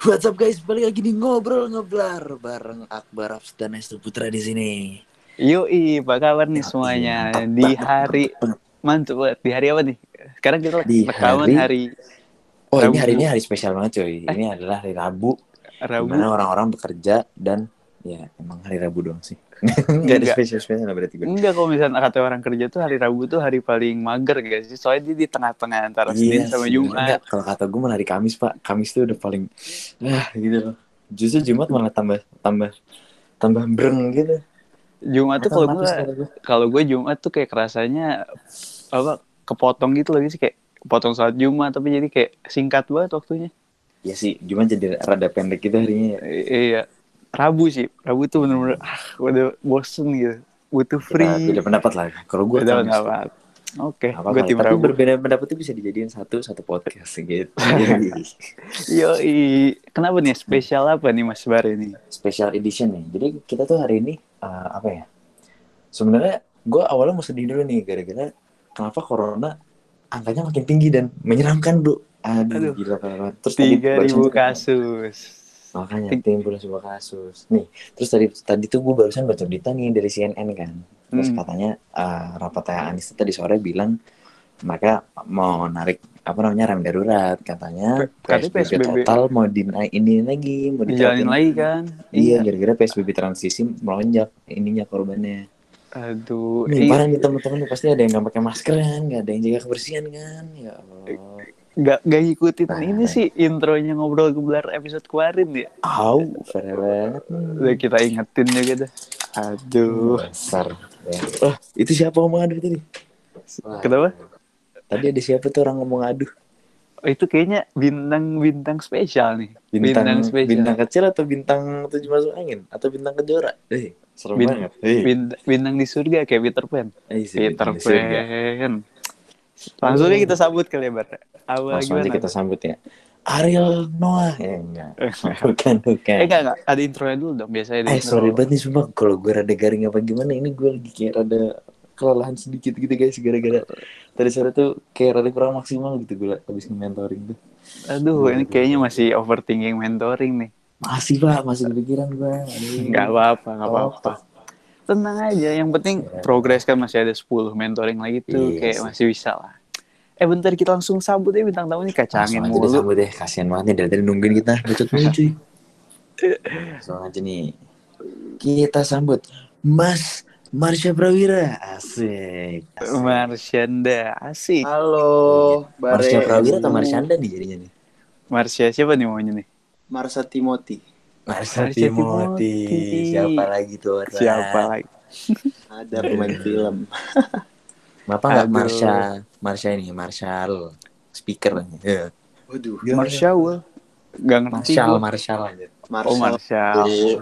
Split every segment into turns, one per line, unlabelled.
What's up guys, balik lagi di ngobrol ngeblar bareng Akbar Abs dan Estu Putra di sini. Iya.
Yoi, apa kabar nih
Yoi,
semuanya?
mantap
Di
banget.
hari mantap banget. Di hari apa nih? Sekarang kita
Di
rekaman hari,
Oh ini
Rabu. Eh.
hari ini hari spesial banget coy. Ini adalah hari Rabu,
Rabu.
dimana orang-orang bekerja dan ya emang hari Rabu doang sih. Gak ada
Enggak.
spesial-spesial lah berarti gue.
Enggak kalau misalnya kata orang kerja tuh hari Rabu tuh hari paling mager guys sih. Soalnya dia di tengah-tengah antara Senin sama
Iya sih. Enggak,
Jumat.
Kalau kata gue malah hari Kamis pak. Kamis tuh udah paling ah gitu loh. Justru Jumat malah tambah tambah tambah breng gitu.
Jumat tuh Nah, kalau gue
Otomatis kata gue.
kalau gue Jumat tuh kayak kerasanya apa kepotong gitu lagi sih kayak kepotong saat Jumat tapi jadi kayak singkat banget waktunya.
Ya sih, Jumat jadi rada pendek gitu harinya. ya.
I- iya. Rabu sih. Rabu tuh bener-bener ah, udah bosen gitu. Butuh free.
Kita Iya, Beda pendapat lah. Kalau gue
Udah
Kamis.
nggak apa Oke,
Gak apa-apa,
gue tim
tapi
Rabu.
berbeda pendapat itu bisa dijadiin satu satu podcast gitu.
Yoi. Kenapa nih spesial apa nih Mas Bar ini?
Special edition nih. Jadi kita tuh hari ini eh, apa ya? Sebenarnya gue awalnya mau sedih dulu nih gara-gara kenapa corona angkanya makin tinggi dan menyeramkan bro. Aduh,
Aduh.
gila banget. Terus tadi
3000
barusan-
kasus.
Makanya
Ting-
timbul sebuah kasus. Nih, terus tadi tadi tuh gue barusan baca berita nih dari CNN kan. Terus
Hmm.
katanya eh, rapat kayak Anies tuh tadi sore bilang mereka mau narik apa namanya rem darurat katanya
Katanya PSBB.
total mau dinaik ini lagi mau
Dijalanin
diterapin.
lagi kan?
iya gara-gara PSBB transisi melonjak ininya korbannya
Aduh.
nih
i-
parah nih teman-teman pasti ada yang nggak pakai masker kan nggak ada yang jaga kebersihan kan ya
Eh,
Allah
Gak, gak ngikutin
Nah.
ini sih intronya ngobrol gelar episode kemarin ya.
au fair banget nih.
Udah kita ingetin ya gitu.
Iya.
Aduh.
Dasar. Ya. Wah, itu siapa ngomong aduh tadi?
Kenapa?
Tadi ada siapa tuh orang ngomong aduh?
Oh, itu kayaknya bintang-bintang spesial nih.
Bintang bintang,
spesial.
kecil atau bintang tujuh masuk angin atau bintang kejora? Eh, serem
Bin-
banget. Eh,
Bintang, bintang di surga kayak Peter Pan.
eh, si
Peter
bintang di surga.
Pan. Langsung aja kita sambut kali ya, Bar. Apa
Langsung aja
gimana?
kita sambut ya. Ariel Noah. Eh, enggak. bukan, bukan.
Eh enggak, enggak. Ada intronya dulu dong biasanya. ada
Eh,
intro.
sorry banget nih sumpah. Kalau gue rada garing apa gimana, ini gue lagi kayak rada kelelahan sedikit gitu guys. Gara-gara tadi sore tuh kayak rada kurang maksimal gitu gue habis mentoring tuh.
Aduh, ini kayaknya masih overthinking mentoring nih.
Masih pak, masih kepikiran gue. Aduh.
Enggak apa-apa, enggak
Oh.
apa-apa. Tenang aja, yang penting progres kan masih ada 10 mentoring lagi
Iya
tuh kayak
sih.
masih bisa lah. Eh bentar kita langsung sambut ya bintang tamu nih kacangin
Langsung aja deh
mulu.
sambut deh, ya. kasihan banget nih dari tadi nungguin kita, bacot mulu cuy. Langsung aja nih, kita sambut Mas Marsha Prawira, asik. asik.
Marsyanda, asik.
Halo, Bare.
Marsha Prawira atau Marsyanda nih jadinya nih?
Marsya siapa nih maunya nih?
Marsha Timothy.
Marsha
Marsha
Timothy.
Timothy.
siapa lagi tuh orang?
Siapa lagi?
Ada pemain film.
Kenapa nggak
Aduh.
Marsha, Marsha ini, Marshall, speaker. Ya.
Waduh,
Marsya Wul. Gak ngerti
Marshall,
gua.
Marshall aja.
Oh
Marsha.
Marsya.
Iya.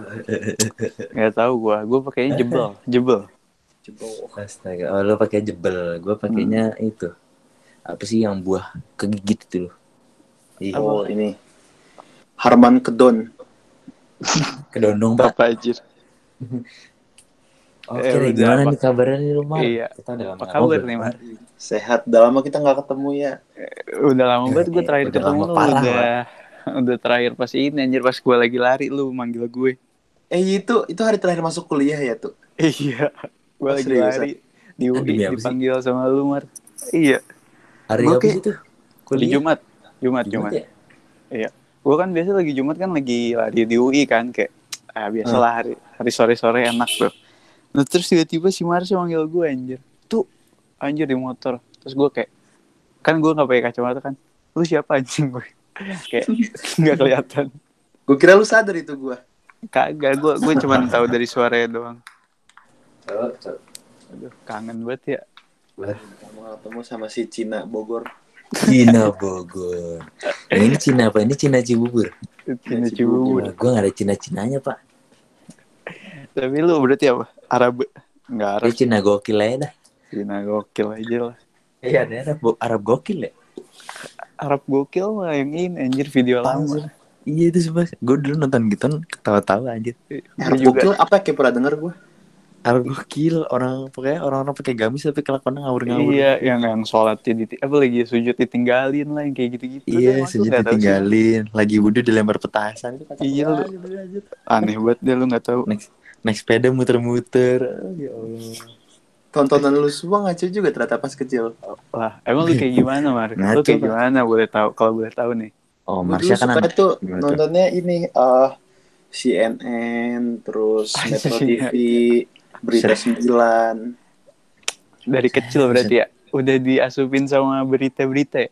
Gak tahu gua, gua pakainya jebel, jebel.
Jebol.
Astaga, oh, lo pakai jebel, gue pakainya
Hmm.
itu apa sih yang buah kegigit itu loh? Ih,
Oh, ini. Harman Kedon.
kedondong pak.
Apa aja?
Oke,
Eh,
deh,
udah,
gimana
apa-
nih kabarnya nih rumah?
Iya.
Kita udah lama
Apa kabar nih, Mar?
Sehat. Udah lama kita nggak ketemu ya.
Udah lama banget gue
Eh,
terakhir
udah
ketemu
lama
lu
parah,
udah udah terakhir pas ini anjir pas gue lagi lari lu manggil gue.
Eh, itu itu hari terakhir masuk kuliah ya tuh.
Iya. Gue
Oh,
lagi
seriusan?
lari di
Aduh, demi
UI
apa sih?
dipanggil sama lu, Mar. Iya,
Hari
Gua
apa
kayak-
sih tuh?
di
Kuliah?
Jumat. Jumat,
Jumat
Jumat.
ya?
Gue kan biasa lagi Jumat kan lagi lari di UI kan kayak ah
Hmm.
biasalah hari hari sore-sore enak tuh. Nah, terus tiba-tiba si Marsha manggil gue anjir. Tuh, anjir di motor. Terus gue kayak kan gue nggak pakai kacamata kan. Lu siapa anjing gue?
Iya.
kayak nggak kelihatan.
Gue kira lu sadar itu gua.
Kagak, gue gue cuma tahu dari suaranya doang.
Oh, so-
Aduh, kangen banget ya.
Kita mau ketemu sama si Cina Bogor.
Cina Bogor. Nah, ini Cina apa? Ini Cina Cibubur. Iya
Cina
Cibubur.
Cibubur.
Wah, gue gak ada Cina-Cinanya pak. Ya,
Tapi lu berarti apa? Arab?
Ini
Enggak Arab.
Cina gokil aja dah.
Cina gokil aja lah.
Iya, ada Arab, Bo- Arab gokil ya?
Arab gokil mah yang ini anjir video
Tahu.
lama.
Iya itu sumpah. Gue dulu nonton gitu ketawa-tawa anjir.
Gue
Harap
juga
gokil apa ya, kayak pernah denger gua.
Al gokil orang pokoknya orang-orang pakai gamis tapi kelakuannya ngawur-ngawur.
Iya, yang yang sholatnya di apa lagi sujud ditinggalin lah yang kayak gitu-gitu.
Iya,
Tuh, emang tuh
sejak
nggak tahu sih.
ditinggalin, lagi wudhu dilempar petasan itu kata
Iya, lu.
apaan, bener aja.
Aneh banget deh lu nggak tahu.
Naik, naik sepeda muter-muter. Ah, Ya Allah.
Tontonan lu semua ngaco juga ternyata pas kecil.
Lah, emang lu kayak gimana, Mar? Lu
Ngaco,
kayak
Pak.
gimana boleh tahu kalau boleh tahu nih.
Oh,
Gua
Marsha
dulu
kan
suka
anak.
tuh
Gimana tuh?
nontonnya ini eh CNN, terus Metro
Iya,
TV, Berita 9.
Dari kecil berarti ya udah diasupin sama berita-berita. ya?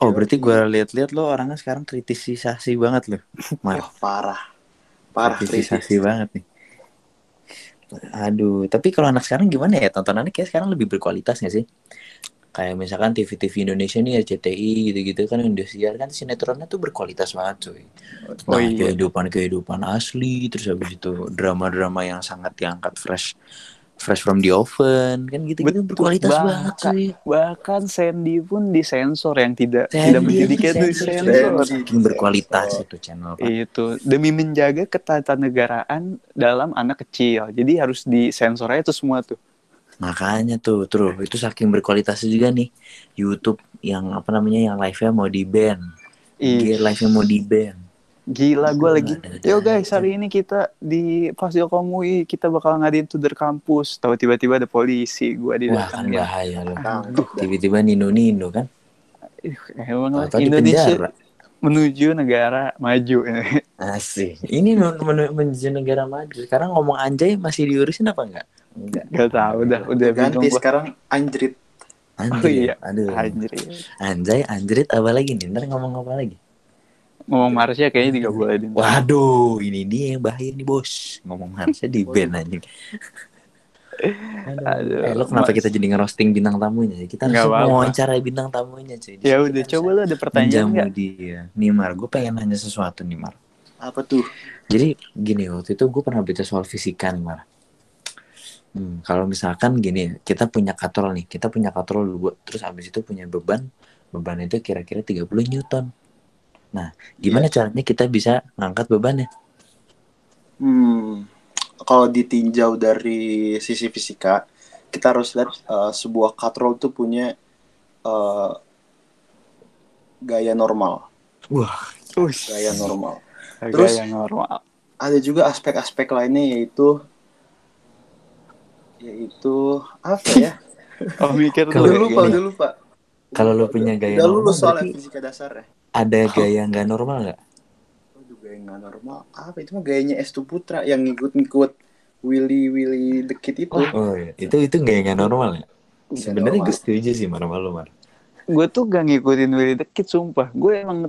Oh, berarti gue lihat-lihat lo orangnya sekarang kritisisasi banget lo. Mar,
Wah, Eh, parah. Parah kritis.
kritisisasi banget nih. Aduh, tapi kalau anak sekarang gimana ya? Tontonannya kayak sekarang lebih berkualitas gak sih? Kayak misalkan TV-TV Indonesia nih RCTI gitu-gitu kan yang disiar kan sinetronnya tuh berkualitas banget cuy.
Oh
Nah,
iya.
kehidupan-kehidupan asli terus habis itu drama-drama yang sangat diangkat fresh fresh from the oven kan gitu-gitu
Betul
berkualitas
banget,
banget cuy.
Bahkan Sandy pun disensor yang tidak
Sandy,
tidak menjadikan itu
disensor.
disensor.
Iya, Saking berkualitas itu channel Pak.
Itu demi menjaga ketatanegaraan dalam anak kecil. Jadi harus disensor aja tuh semua tuh.
Makanya tuh, tuh itu saking berkualitasnya juga nih YouTube yang apa namanya yang live-nya mau di ban,
Ih,
live-nya mau di ban.
Gila gue
Gila,
lagi.
ada-
Yo
ada-
guys,
ada.
hari ini kita di Fasilkom UI kita bakal ngadain tudor kampus. Tahu tiba-tiba ada polisi gua di
Wah kan
ya.
bahaya loh.
Tangkap dah.
Tiba-tiba nino nino kan,
Emang lah
atau di
Indonesia
penjara.
menuju negara maju.
Asih. Ini men- men- menuju negara maju. Sekarang ngomong anjay masih diurusin apa enggak? Enggak.
Gak tau dah, udah bingung
Ganti
gua.
sekarang anjrit.
Anjay.
Oh, iya.
Aduh.
Anjir.
Anjay, anjrit apa lagi nih? Ntar ngomong apa lagi?
Ngomong Marsha kayaknya tidak boleh di.
Waduh, ini dia yang bahaya nih bos. Ngomong harusnya di band anjing.
Aduh.
Eh, lo kenapa kita jadi ngerosting bintang tamunya? Kita
Nggak
harus
apa-apa.
wawancara bintang tamunya cuy.
Ya udah, coba lu ada pertanyaan
Menjamu
nggak?
dia. Nih Mar, gue pengen nanya sesuatu nih Mar.
Apa tuh?
Jadi gini waktu itu gue pernah baca soal fisika nih Mar. Hmm, kalau misalkan gini, kita punya katrol nih, kita punya katrol dulu, terus abis itu punya beban, beban itu kira-kira 30 newton. Nah, gimana
Iya.
caranya kita bisa ngangkat bebannya?
Hmm, kalau ditinjau dari sisi fisika, kita harus lihat eh, sebuah katrol tuh punya eh, gaya normal,
Ush,
gaya normal.
Terus
Terus-
yang normal.
Ada juga aspek-aspek lainnya yaitu yaitu apa ya?
Oh mikir
Kalau
Udah
Kalau-
dulu.
lupa,
gini.
udah lupa.
Kalau lu punya gaya
udah
normal,
lulus soalnya
berarti
fisika dasarnya.
Oh.
ada gaya nggak normal nggak?
Aduh, Oh, gaya nggak normal. Apa itu mah gayanya Estu Putra yang ngikut-ngikut Willy Willy the Kid itu.
Oh, iya. itu itu gaya nggak normal ya?
Nggak
Sebenarnya
normal.
gue setuju sih Mar sama lu, Mar.
Gue tuh gak ngikutin Willy the Kid, sumpah. Gue emang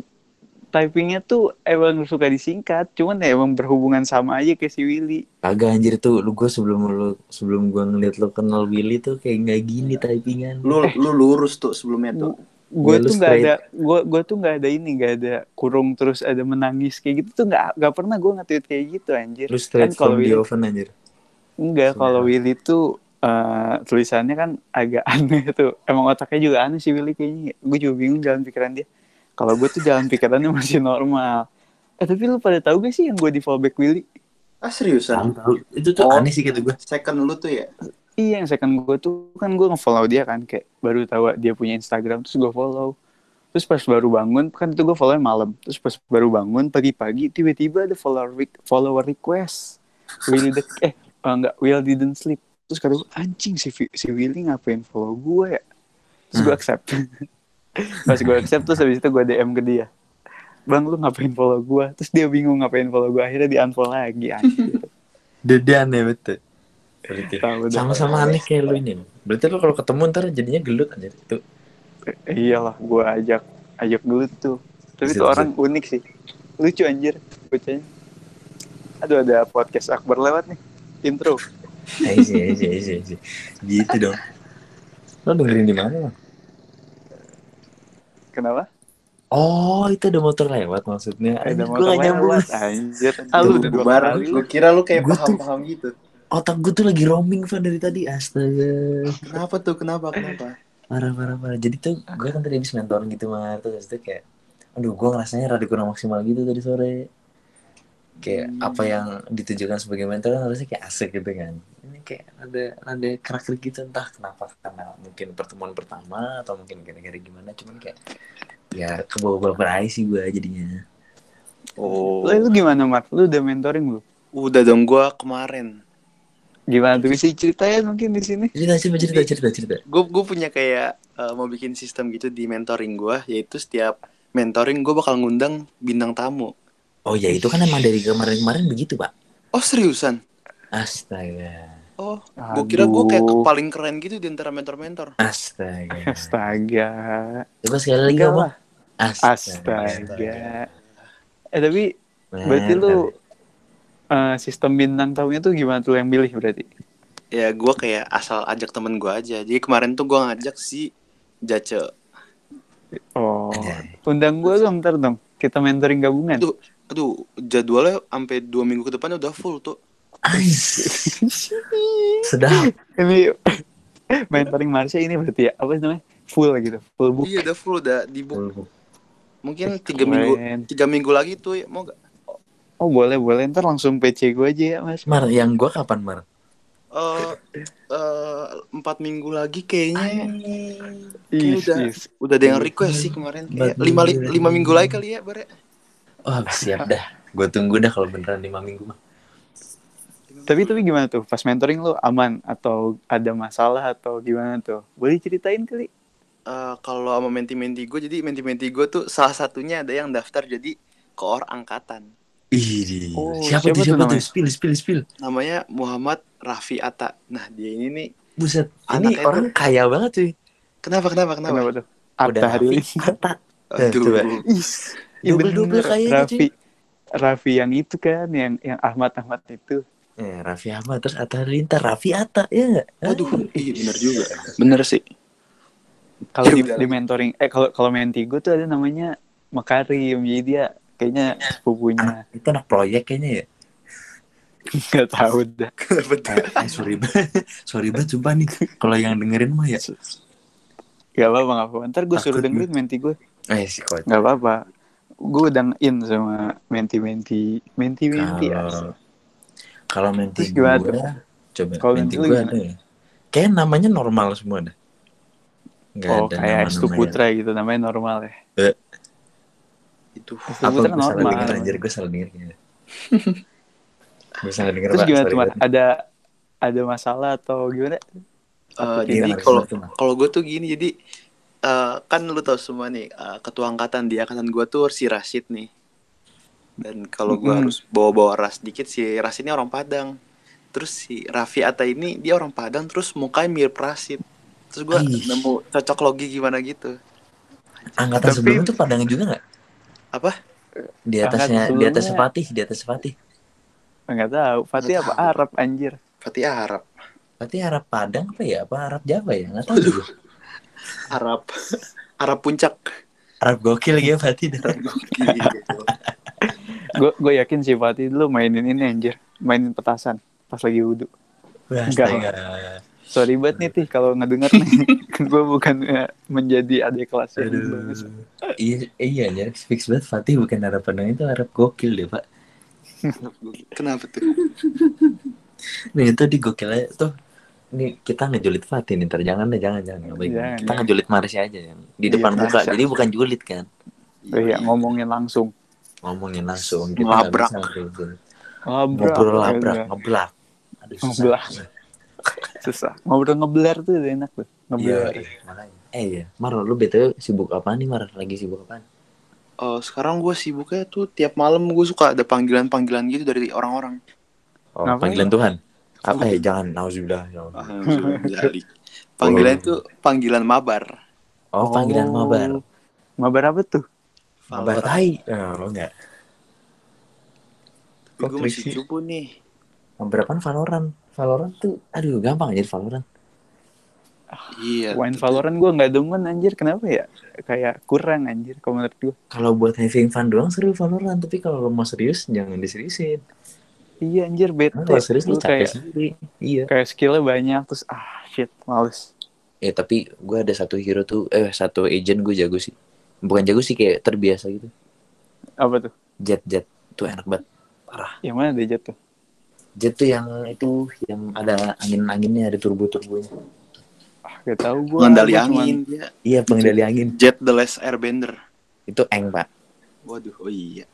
typingnya tuh emang suka disingkat. Cuman ya emang berhubungan sama aja kayak si Willy.
Kagak anjir tuh, lu gue sebelum lu sebelum gue ngeliat lu kenal Willy tuh kayak nggak gini
Iya.
typingan.
Lu lu lurus tuh sebelumnya tuh.
gue
Dia Ya, lu
tuh nggak
straight.
ada gue gue tuh nggak ada ini nggak ada kurung terus ada menangis kayak gitu tuh nggak nggak pernah gue nge-tweet kayak gitu anjir
Lu straight
Kan kalau
from the
Willy-
oven anjir.
enggak kalau Willy tuh eh, tulisannya kan agak aneh tuh emang otaknya juga aneh sih Willy kayaknya gue juga bingung jalan pikiran dia kalau gue tuh jalan pikirannya masih normal eh tapi lu pada tahu gak sih yang gue di fallback Willy
Ah seriusan?
Nah.
Tahu, tahu. Itu tuh
Oh.
aneh sih kata gue.
Second lu tuh ya?
iya yang second gue tuh kan gue nge-follow dia kan kayak baru tahu dia punya Instagram terus gue follow terus pas baru bangun kan itu gue follow malam terus pas baru bangun pagi-pagi tiba-tiba ada follower re- follower request Will the eh oh, enggak Will didn't sleep terus kata gue anjing si Vi- si Willy ngapain follow gue ya terus gue accept pas gue accept terus habis itu gue DM ke dia Bang lu ngapain follow gue Terus dia bingung ngapain follow gue Akhirnya di unfollow lagi anjir.
Dede aneh betul. Berarti.
Tahu dah.
ya, Sama-sama aneh kayak lu ini. Berarti lu kalau ketemu ntar jadinya gelut anjir. Itu
iyalah gue ajak ajak dulu tuh tapi
Zip,
tuh orang unik sih lucu anjir bocahnya aduh ada podcast akbar lewat nih intro
Easy, easy, easy, easy. Gitu dong. Lo dengerin di mana? Bang?
kenapa
Oh, itu ada motor lewat maksudnya.
ada
Anjir,
motor
gua gak nyambung.
lewat anjir ah, lu
Aduh,
udah dua
bubar.
kali lu.
Gue kira lu kayak
Gua tuh-
paham-paham gitu.
Otak gue tuh lagi roaming Van dari tadi. Astaga.
Kenapa tuh? Kenapa? Kenapa?
Parah, parah, parah. Jadi tuh gue kan tadi habis mentoran gitu mah. Terus itu kayak Aduh, gue ngerasanya rada kurang maksimal gitu tadi sore. kayak apa yang ditujukan sebagai mentor kan harusnya kayak asik gitu kan ini kayak ada ada karakter gitu entah kenapa karena mungkin pertemuan pertama atau mungkin gara-gara gimana cuman kayak ya kebawa-bawa berai sih gue jadinya
Oh.
Lo lu gimana, Mark? Lu udah mentoring belum?
Udah dong gua kemarin.
Gimana tuh bisa ceritain mungkin di sini?
cerita cerita cerita cerita cerita
Gue gue punya kayak eh, mau bikin sistem gitu di mentoring gua yaitu setiap mentoring gue bakal ngundang bintang tamu.
oh ya itu kan emang dari kemarin-kemarin begitu pak
Oh seriusan?
astaga
Oh, gue kira gue kayak
Aduh.
paling keren gitu di antara mentor-mentor.
astaga
Astaga.
coba sekali lagi
Enggak
ngomong
lah.
astaga
Astaga. Eh tapi berarti
Nah,
lu eh, sistem bintang tamunya tuh gimana tuh yang milih berarti?
Ya gue kayak asal ajak temen gue aja. Jadi kemarin tuh gue ngajak si Jace.
Oh,
Anjay.
undang gue dong ntar dong. Kita mentoring gabungan.
Aduh, aduh jadwalnya sampai dua minggu ke depan udah full tuh.
Oh.
Ais, Eh. sedap
ini mentoring Marsha ini berarti ya apa sih namanya? Full gitu, full book.
Iya udah full udah di book. Mungkin tiga
Keren.
minggu tiga minggu lagi tuh ya, mau gak?
Oh boleh boleh ntar langsung PC gue aja ya mas.
Mar, yang gua kapan Mar?
Eh, eh, empat minggu lagi kayaknya
Ih,
udah.
ih.
udah ada yang request sih kemarin kayak
Empat
lima, li-
minggu lagi.
lima minggu lagi kali ya bare
Oh siap dah, gue tunggu dah kalau beneran lima minggu mah.
Tapi tapi gimana tuh? Pas mentoring lo aman atau ada masalah atau gimana tuh? Boleh ceritain kali?
Eh, kalau sama menti-menti gue jadi menti-menti gue tuh salah satunya ada yang daftar jadi koor angkatan
Ih,
Oh,
siapa, tuh
siapa
siapa
tuh
tuh?
namanya?
Spill, spill, spill.
namanya Muhammad Raffi Atta nah dia ini nih
Buset, ini
Anaknya
orang kaya banget cuy.
kenapa kenapa kenapa,
Kenapa tuh? Atta
Udah
hari
Raffi,
ini.
Atta. Nah,
Aduh.
coba.
Iya
Double-double gitu,
bener,
kayaknya,
Raffi. Raffi yang itu kan, yang yang Ahmad Ahmad itu.
Eh, Raffi Ahmad, terus Atta Halilintar, Raffi Atta, ya nggak?
waduh iya bener juga bener sih
Kalau di,
Iya,
di mentoring, eh kalau kalau menti gue tuh ada namanya Makarim. Jadi dia kayaknya sepupunya.
Itu anak proyek kayaknya ya.
Gak tahu dah.
kenapa tuh
Eh, sorry banget, sorry banget sumpah nih. Kalau yang dengerin mah ya.
Gak apa-apa, gak apa-apa. Ntar gue suruh
Takut
dengerin menti gue.
Eh, si kocak.
Gak apa-apa. Gue udah in sama menti-menti. Menti-menti asik.
Kalau kalau menti
Terus gimana
gue,
tuh?
coba
Kalau
menti
menti lu
gue
gimana?
ada ya. Kayak namanya normal semua dah. Nggak
Oh,
ada
kayak
nama-nama
Estu
yang-
Putra gitu namanya normal ya.
itu
Estu
Apa
Putra
gue salah
normal.
denger anjir, gue salah denger kayaknya. gue salah denger,
Terus
Pak,
gimana
sorry
tuh, Mar?
banget.
Ada ada masalah atau gimana?
Eh,
Iya,
jadi
harus
kalau
bener tuh, Mar.
kalau gue tuh gini jadi eh, kan lu tau semua nih eh, ketua angkatan di angkatan gue tuh si Rashid nih dan kalau gue
Mm-mm.
harus bawa-bawa ras dikit si Rashid ini orang Padang terus si Raffi Atta ini dia orang Padang terus mukanya mirip Rashid terus gue
Ih.
nemu cocok logi gimana gitu
Angkatan
Tapi-
sebelumnya tuh Padang juga nggak?
Apa?
Di atasnya,
Angkatan
di atas
sebelumnya-
Fatih, di atas Fatih.
Enggak tahu. Fatih
Nggak
apa
tahu.
Arab anjir?
Fatih Arab
Fatih Arab Padang apa ya? Apa Arab Jawa ya? Nggak tahu. juga.
Arab Arab puncak gitu.
Arab gokil ya Fatih. dah.
Gue gue yakin si Fatih dulu mainin ini anjir. Mainin petasan pas lagi wudhu.
Wah,
Enggak.
astaga.
Sorry banget nih Tih kalau ngedenger nih. gue bukan eh, menjadi adik kelas yang
Aduh.
bagus.
Iya, iya ya. Fix banget Fatih bukan Arab Padang itu Arab gokil deh Pak.
kenapa tuh
Nih itu di gokilnya tuh. Nih kita ngejulit Fatih nih, ntar jangan deh, jangan jangan. Baik,
Jangan,
kita
jangan.
ngejulit Marsha aja ya. Di
Iya,
depan muka,
Marsha.
jadi bukan julit kan.
Oh, iya, ngomongin langsung.
Ngomongin langsung. gitu,
Labrak.
nggak bisa ngobrol.
Labrak.
ngobrol labrak
Enggak.
ngeblak aduh susah
Ngeblak. Susah. Ngobrol ngeblur tuh udah enak tuh.
iya
Ngeblur.
makanya. eh iya Mar lu btw sibuk apaan nih Mar lagi sibuk apaan
Eh, sekarang gue sibuknya tuh tiap malam gue suka ada panggilan-panggilan gitu dari orang-orang
oh,
Ngapain?
panggilan Tuhan apa ya jangan nauzubillah ya Allah.
Alhamdulillah. panggilan
Oh.
itu panggilan mabar.
oh panggilan mabar
Mabar apa tuh?
mabar tai oh lo enggak
Tapi gue masih
Kontriksi.
cupu nih.
mabar apaan Valorant Valorant tuh aduh gampang jadi Valorant
Iya.
Wine Valorant gue nggak demen anjir kenapa ya kayak kurang anjir kalau menurut gue
kalau buat having fun doang seru Valorant tapi kalau lo mau serius jangan diseriusin
iya anjir bete
Karena kalau serius lo
Gua
capek
kayak
sendiri iya
kayak skillnya banyak terus ah shit males
ya tapi gue ada satu hero tuh eh satu agent gue jago sih bukan jago sih kayak terbiasa gitu
apa tuh
Jet Jet tuh enak banget. parah
Yang mana dia jatuh?
jet tuh yang itu yang ada angin anginnya ada turbo turbonya
Ah, gak tau gue.
pengendali angin dia
iya pengendali angin
Jet the Last Airbender
itu eng pak
waduh oh iya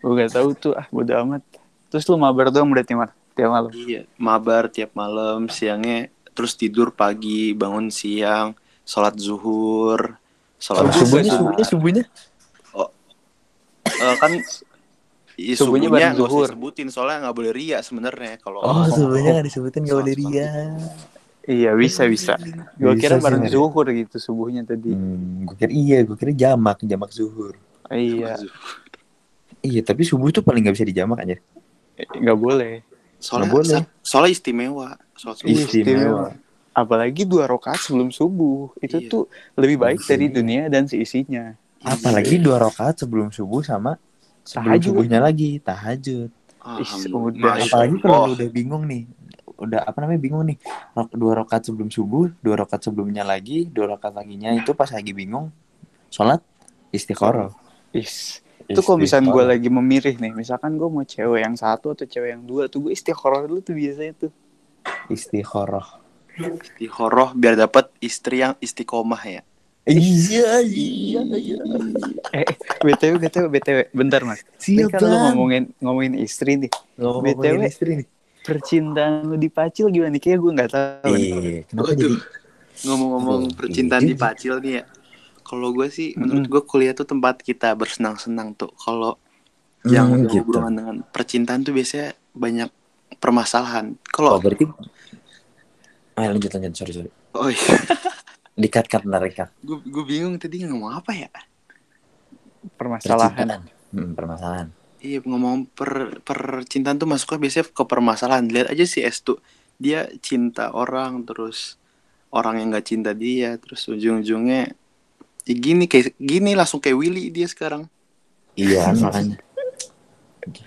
Gue gak tau tuh. Ah, bodo amat. Terus lu mabar doang berarti, Mar. Tiap malam.
iya mabar tiap malam siangnya terus tidur pagi bangun siang sholat zuhur
Sholat
sholat asar.
Oh, subuhnya subuhnya subuhnya
Eh, kan i-
Subuhnya
subuhnya
bareng
nggak usah
zuhur.
disebutin, soalnya nggak boleh ria sebenarnya kalau
oh subuhnya
oh.
nggak disebutin nggak boleh dia
Iya, bisa, bisa. Gue
Bisa
kira
sih,
bareng
Mar.
zuhur gitu subuhnya tadi.
hmm, gue kira iya gue kira jamak jamak zuhur
Iya,
iya tapi subuh tuh paling nggak bisa dijamak aja
gak boleh.
soalnya
Nggak boleh.
sa- soalnya istimewa sholat subuh
istimewa
Iya, Apalagi dua rokaat sebelum subuh. Itu
Iya.
tuh lebih baik
Iya.
dari dunia dan seisinya.
apalagi dua rakaat sebelum subuh sama sebelum
Tahajud.
subuhnya lagi tahajud
Alhamdulillah. Oh,
Masya
apalagi kalau lu udah bingung nih udah apa namanya bingung nih Rok- dua rakaat sebelum subuh dua rakaat sebelumnya lagi dua rakaat laginya itu pas lagi bingung sholat istiqoroh
Is. Itu kalau misalnya gue lagi memilih nih, misalkan gue mau cewek yang satu atau cewek yang dua, tuh gue istiqoroh dulu tuh biasanya tuh.
istiqoroh
Istihoroh biar dapat istri yang istiqomah ya.
iya iya iya
Eh, eh, btw, btw, btw, bentar mas. Ini
siapa
kan lu ngomongin ngomongin istri nih, BTW.
istri nih
percintaan lu di Pacil gimana nih? Kayaknya gue nggak tahu. nih.
Iya, kenapa
Waduh.
jadi
Ngomong-ngomong
Aduh,
percintaan
iya
di
juga.
Pacil nih ya. Kalau gue sih,
Mm-mm.
menurut gue kuliah tuh tempat kita bersenang-senang tuh. Kalau yang
Hmm, gitu.
berhubungan dengan percintaan tuh biasanya banyak permasalahan.
Oh,
Kalau
berarti Ah, lanjut lanjut sorry sorry.
oh iya,
Dikat kat mereka.
gue gue bingung tadi ngomong apa ya?
Permasalahan.
Percintaan. Hmm, permasalahan.
Iya ngomong per percintaan tuh masuknya biasanya ke permasalahan. Lihat aja si S tuh dia cinta orang terus orang yang nggak cinta dia terus ujung-ujungnya ya gini kayak gini langsung kayak Willy dia sekarang.
Iya, makanya.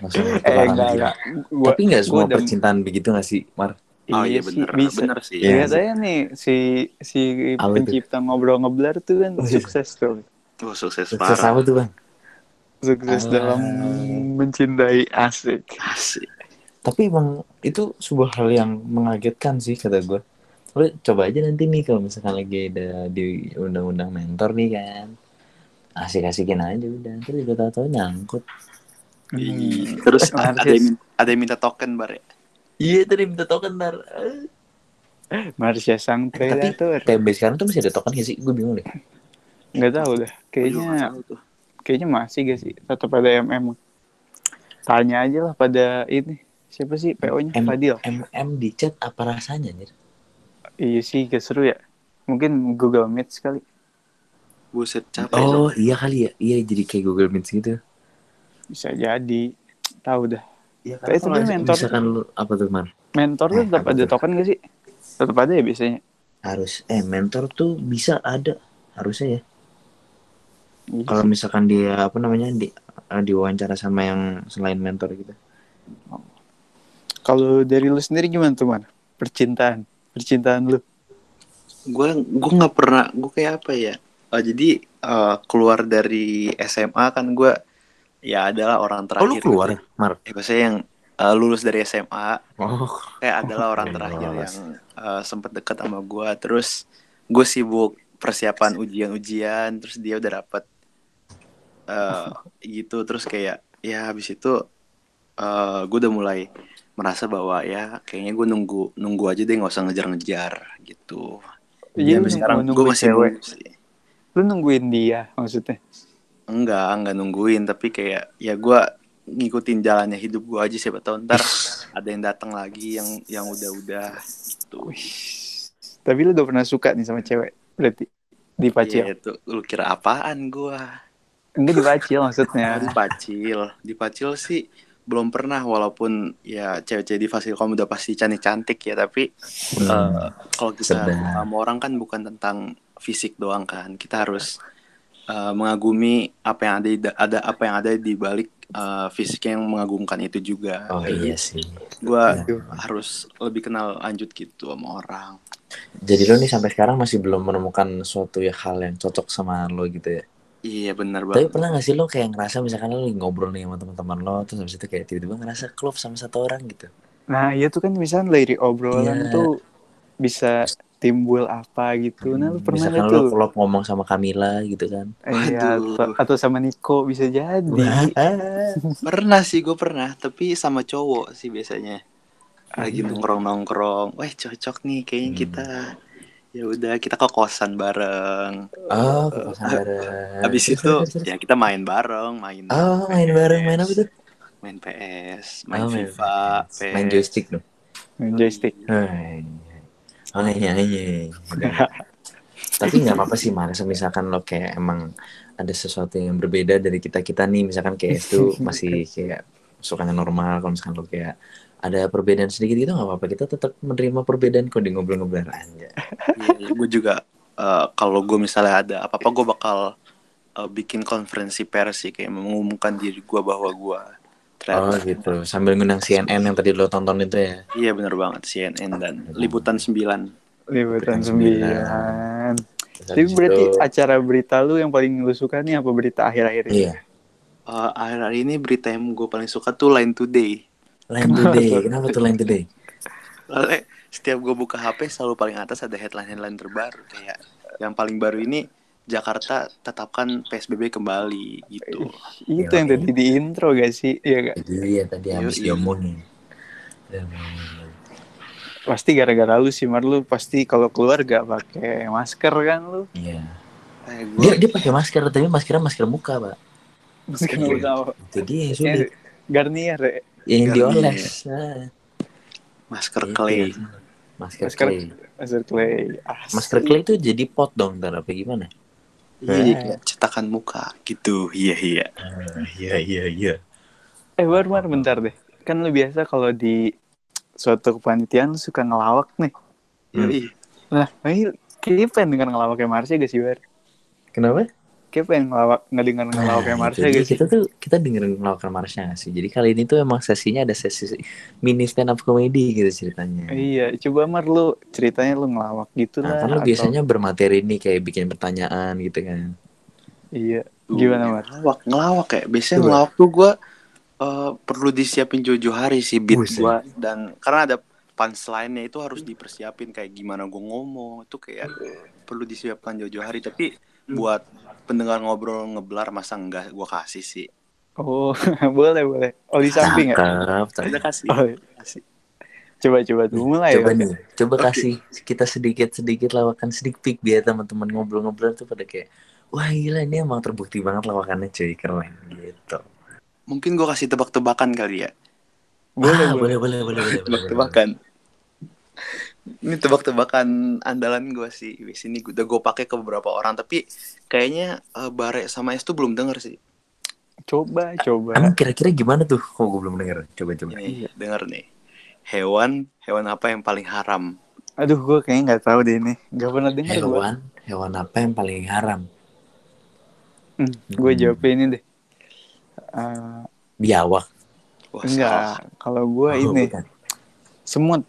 Langsung
Eh,
pertemanan
enggak,
gitu.
enggak. Gua,
Tapi nggak semua
gua udah-
percintaan begitu nggak sih, Mar?
oh
iya
iya
sih,
bener,
bisa.
bener sih.
Iya.
Ingat aja nih, si si
Apa tuh?
pencipta ngobrol ngeblar tuh kan
Oh, iya.
sukses tuh.
Wah, sukses,
Sukses
parah.
apa tuh, Bang?
Sukses
Ah.
dalam mencintai asik.
Asik.
Tapi emang itu sebuah hal yang mengagetkan sih kata gue. Lo coba aja nanti nih kalau misalkan lagi ada di undang-undang mentor nih kan. Asik-asikin aja udah. Ntar juga tau-tau nyangkut.
Hmm. Iya.
Ih, Terus
Narsis.
ada yang, ada yang minta token ya? bare.
Iya tadi minta token ntar.
Marsha ya. sang predator.
TB sekarang tuh masih ada token gak sih? Gue bingung deh.
Nggak tahu dah. Kayaknya kayaknya masih gak sih tetap ada MM tanya aja lah pada ini siapa sih PO nya
M.
Fadil
MM di chat apa rasanya anjir?
iya sih gak seru ya mungkin Google Meet sekali
Buset capek.
Oh iya kali ya. Iya jadi kayak Google Meet gitu.
bisa jadi tahu dah
Iya
Tapi itu dia mentor.
Misalkan lu apa tuh, Mar?
mentor tuh
Eh,
tetap
apa
ada
tuh?
token gak sih tetap ada ya biasanya
harus eh mentor tuh bisa ada harusnya ya
Iya
kalau
sih.
misalkan dia apa namanya di eh, diwawancara sama yang selain mentor gitu
kalau dari lu sendiri gimana tuh man percintaan percintaan lu
gue gue nggak pernah gue kayak apa ya Eh, jadi eh, keluar dari SMA kan gue ya adalah orang
oh lu
terakhir
keluar Mar
Eh, maksudnya yang eh, lulus dari SMA
oh
kayak Eh, adalah
Yang
orang terakhir
lolos.
yang eh, sempet deket sama gue terus gue sibuk persiapan ujian-ujian terus dia udah dapet eh, gitu terus kayak ya habis itu gue udah mulai merasa bahwa ya kayaknya gue nunggu nunggu aja deh nggak usah ngejar-ngejar gitu
Iya,
Iya,
tapi
lu
sekarang ya,
nunggu-
gue
nungguin
masih
cewek.
belum sih.
lu nungguin dia maksudnya
Enggak, enggak nungguin, tapi kayak ya gua ngikutin jalannya hidup gua aja siapa tahu ntar ada yang datang lagi yang yang udah-udah gitu.
Wih. tapi lu gak pernah suka nih sama cewek berarti di pacil
Iya, itu lu kira apaan gua?
enggak di pacil maksudnya
Di pacil, di pacil sih belum pernah walaupun ya cewek-cewek di Fasilkom udah pasti cantik-cantik ya, tapi
Hmm. Oh,
eh, kalau kita
Sedap.
sama orang kan bukan tentang fisik doang kan. Kita harus eh, mengagumi apa yang ada di, ada apa yang ada di balik eh, fisik yang mengagumkan itu juga.
oh iya sih
Gua
Iya.
harus lebih kenal lanjut gitu sama orang.
jadi lo nih sampai sekarang masih belum menemukan suatu ya hal yang cocok sama lo gitu ya
Iya benar
Tapi
banget.
pernah gak sih lo kayak ngerasa misalkan lo lagi ngobrol nih sama teman-teman lo terus habis itu kayak tiba-tiba ngerasa klop sama satu orang gitu.
Nah, iya tuh kan misalnya dari obrolan
Iya.
tuh bisa timbul apa gitu. Nah, lu
Hmm,
pernah
misalkan
nggak
lo
tuh?
klop ngomong sama Kamila gitu kan.
Iya,
Waduh.
atau, atau sama Niko bisa jadi.
Pernah sih gue pernah, tapi sama cowok sih biasanya. Lagi
Iya.
nongkrong nongkrong, wah cocok nih kayaknya
Hmm.
kita. Ya udah kita ke kosan bareng.
Oh, ke kosan bareng.
Habis
Terus,
itu
terus, terus.
ya kita main bareng, main.
Oh, main bareng main apa tuh?
Main PS,
Oh,
main FIFA,
PS.
PS.
Main joystick dong.
Nah, Joystick.
Hai. Oh, iya, iya. Tapi nggak apa-apa sih Mar, misalkan lo kayak emang ada sesuatu yang berbeda dari kita-kita nih, misalkan kayak itu masih kayak sukanya normal, kalau misalkan lo kayak ada perbedaan sedikit gitu nggak apa-apa, kita tetap menerima perbedaan kok di ngobrol-ngobrol aja.
gue Iya, juga eh, kalau gue misalnya ada apa-apa gue bakal eh, bikin konferensi pers sih kayak mengumumkan diri gue bahwa gue
Oh
ternyata
gitu, sambil ngundang CNN yang tadi lo tonton itu ya.
iya bener banget CNN dan
Ah,
liputan 9
Liputan
Liputan 9.
Terus
Tapi
habis
berarti
itu-
acara berita lu yang paling lu suka nih apa berita akhir-akhir ini?
Iya,
Eh, akhir-akhir ini berita yang gue paling suka tuh Line Today
Line Today, kenapa tuh Line Today?
Soalnya setiap gue buka HP selalu paling atas ada headline-headline terbaru kayak yang paling baru ini Jakarta tetapkan PSBB kembali gitu
Itu yang tadi di intro gak sih? Iya gak?
Itu dia tadi
Iya,
habis
iya.
diomongin. Dan-
Pasti gara-gara lu sih, Mar. Lu pasti kalau keluar gak pakai masker kan lu?
Iya.
eh,
Dia
gue
dia pakai masker, tapi maskernya masker muka, Pak.
Masker
Iya.
lu tau.
Itu dia yang sulit. Iya.
Kayak Eh, Garnier ya?
yang
Garnier.
dioles. Ah.
masker
Iya.
clay
Masker,
Masker-
clay.
Masker clay. Asli.
Masker clay itu jadi pot dong ntar apa gimana?
Iya, jadi kayak cetakan muka gitu iya iya
Iya iya iya.
Eh, Mar, Mar, bentar deh. Kan lu biasa kalau di suatu kepanitiaan lu suka ngelawak nih.
Hmm.
Yoi.
Nah, ini kayaknya pengen denger ngelawak kayak Marsha gak sih, Bar?
Kenapa?
Kayak pengen ngelawak, ngedengar ngelawak kayak Marsha
Nah, Ah, jadi gitu.
gak sih?
kita tuh kita dengerin melakukan Marsha gak sih. Jadi kali ini tuh emang sesinya ada sesi mini stand up comedy gitu ceritanya.
Iya, coba Mar lu ceritanya lu ngelawak gitu
Nah,
lah.
kan lu
atau-
biasanya bermateri nih kayak bikin pertanyaan gitu kan.
Iya, gimana Mar?
Ngelawak, ngelawak ya. Biasanya
Coba.
ngelawak tuh gue perlu disiapin jauh-jauh hari sih beat
Buset.
gue dan karena ada punchline-nya itu harus dipersiapin kayak gimana gue ngomong itu kayak perlu disiapkan jauh-jauh hari tapi buat pendengar ngobrol ngeblar masa enggak gue kasih sih.
Oh, boleh, boleh. Oh, di samping ya?
Cakep.
Kita
cakep.
kasih.
Oh,
kasih.
coba-coba tuh mulai ya,
Coba
Mar.
nih, coba
Oke.
kasih kita sedikit-sedikit lawakan sedikit peek biar teman-teman ngobrol-ngobrol tuh pada kayak wah gila ini emang terbukti banget lawakannya cuy keren gitu.
Mungkin gue kasih tebak-tebakan kali ya.
Boleh,
Ah,
boleh.
boleh, boleh, boleh, boleh, boleh, boleh.
Tebak-tebakan. Ini tebak-tebakan andalan gue sih. Di sini udah gue pakai ke beberapa orang tapi kayaknya eh, Bare sama Es tuh belum denger sih.
Coba, coba.
Emang kira-kira gimana tuh? Kok gue belum denger? Coba coba.
Iya,
Ini denger Iya, nih. Hewan, hewan apa yang paling haram?
Aduh, gue kayaknya nggak tahu deh ini. Gak pernah denger gue.
Hewan, hewan apa yang paling haram?
Hmm, gue
Hmm.
jawabnya ini deh. Eh,
Biawak.
Wah, salah.
enggak, kalau gue
Oh,
ini
bukan. Ah,
semut.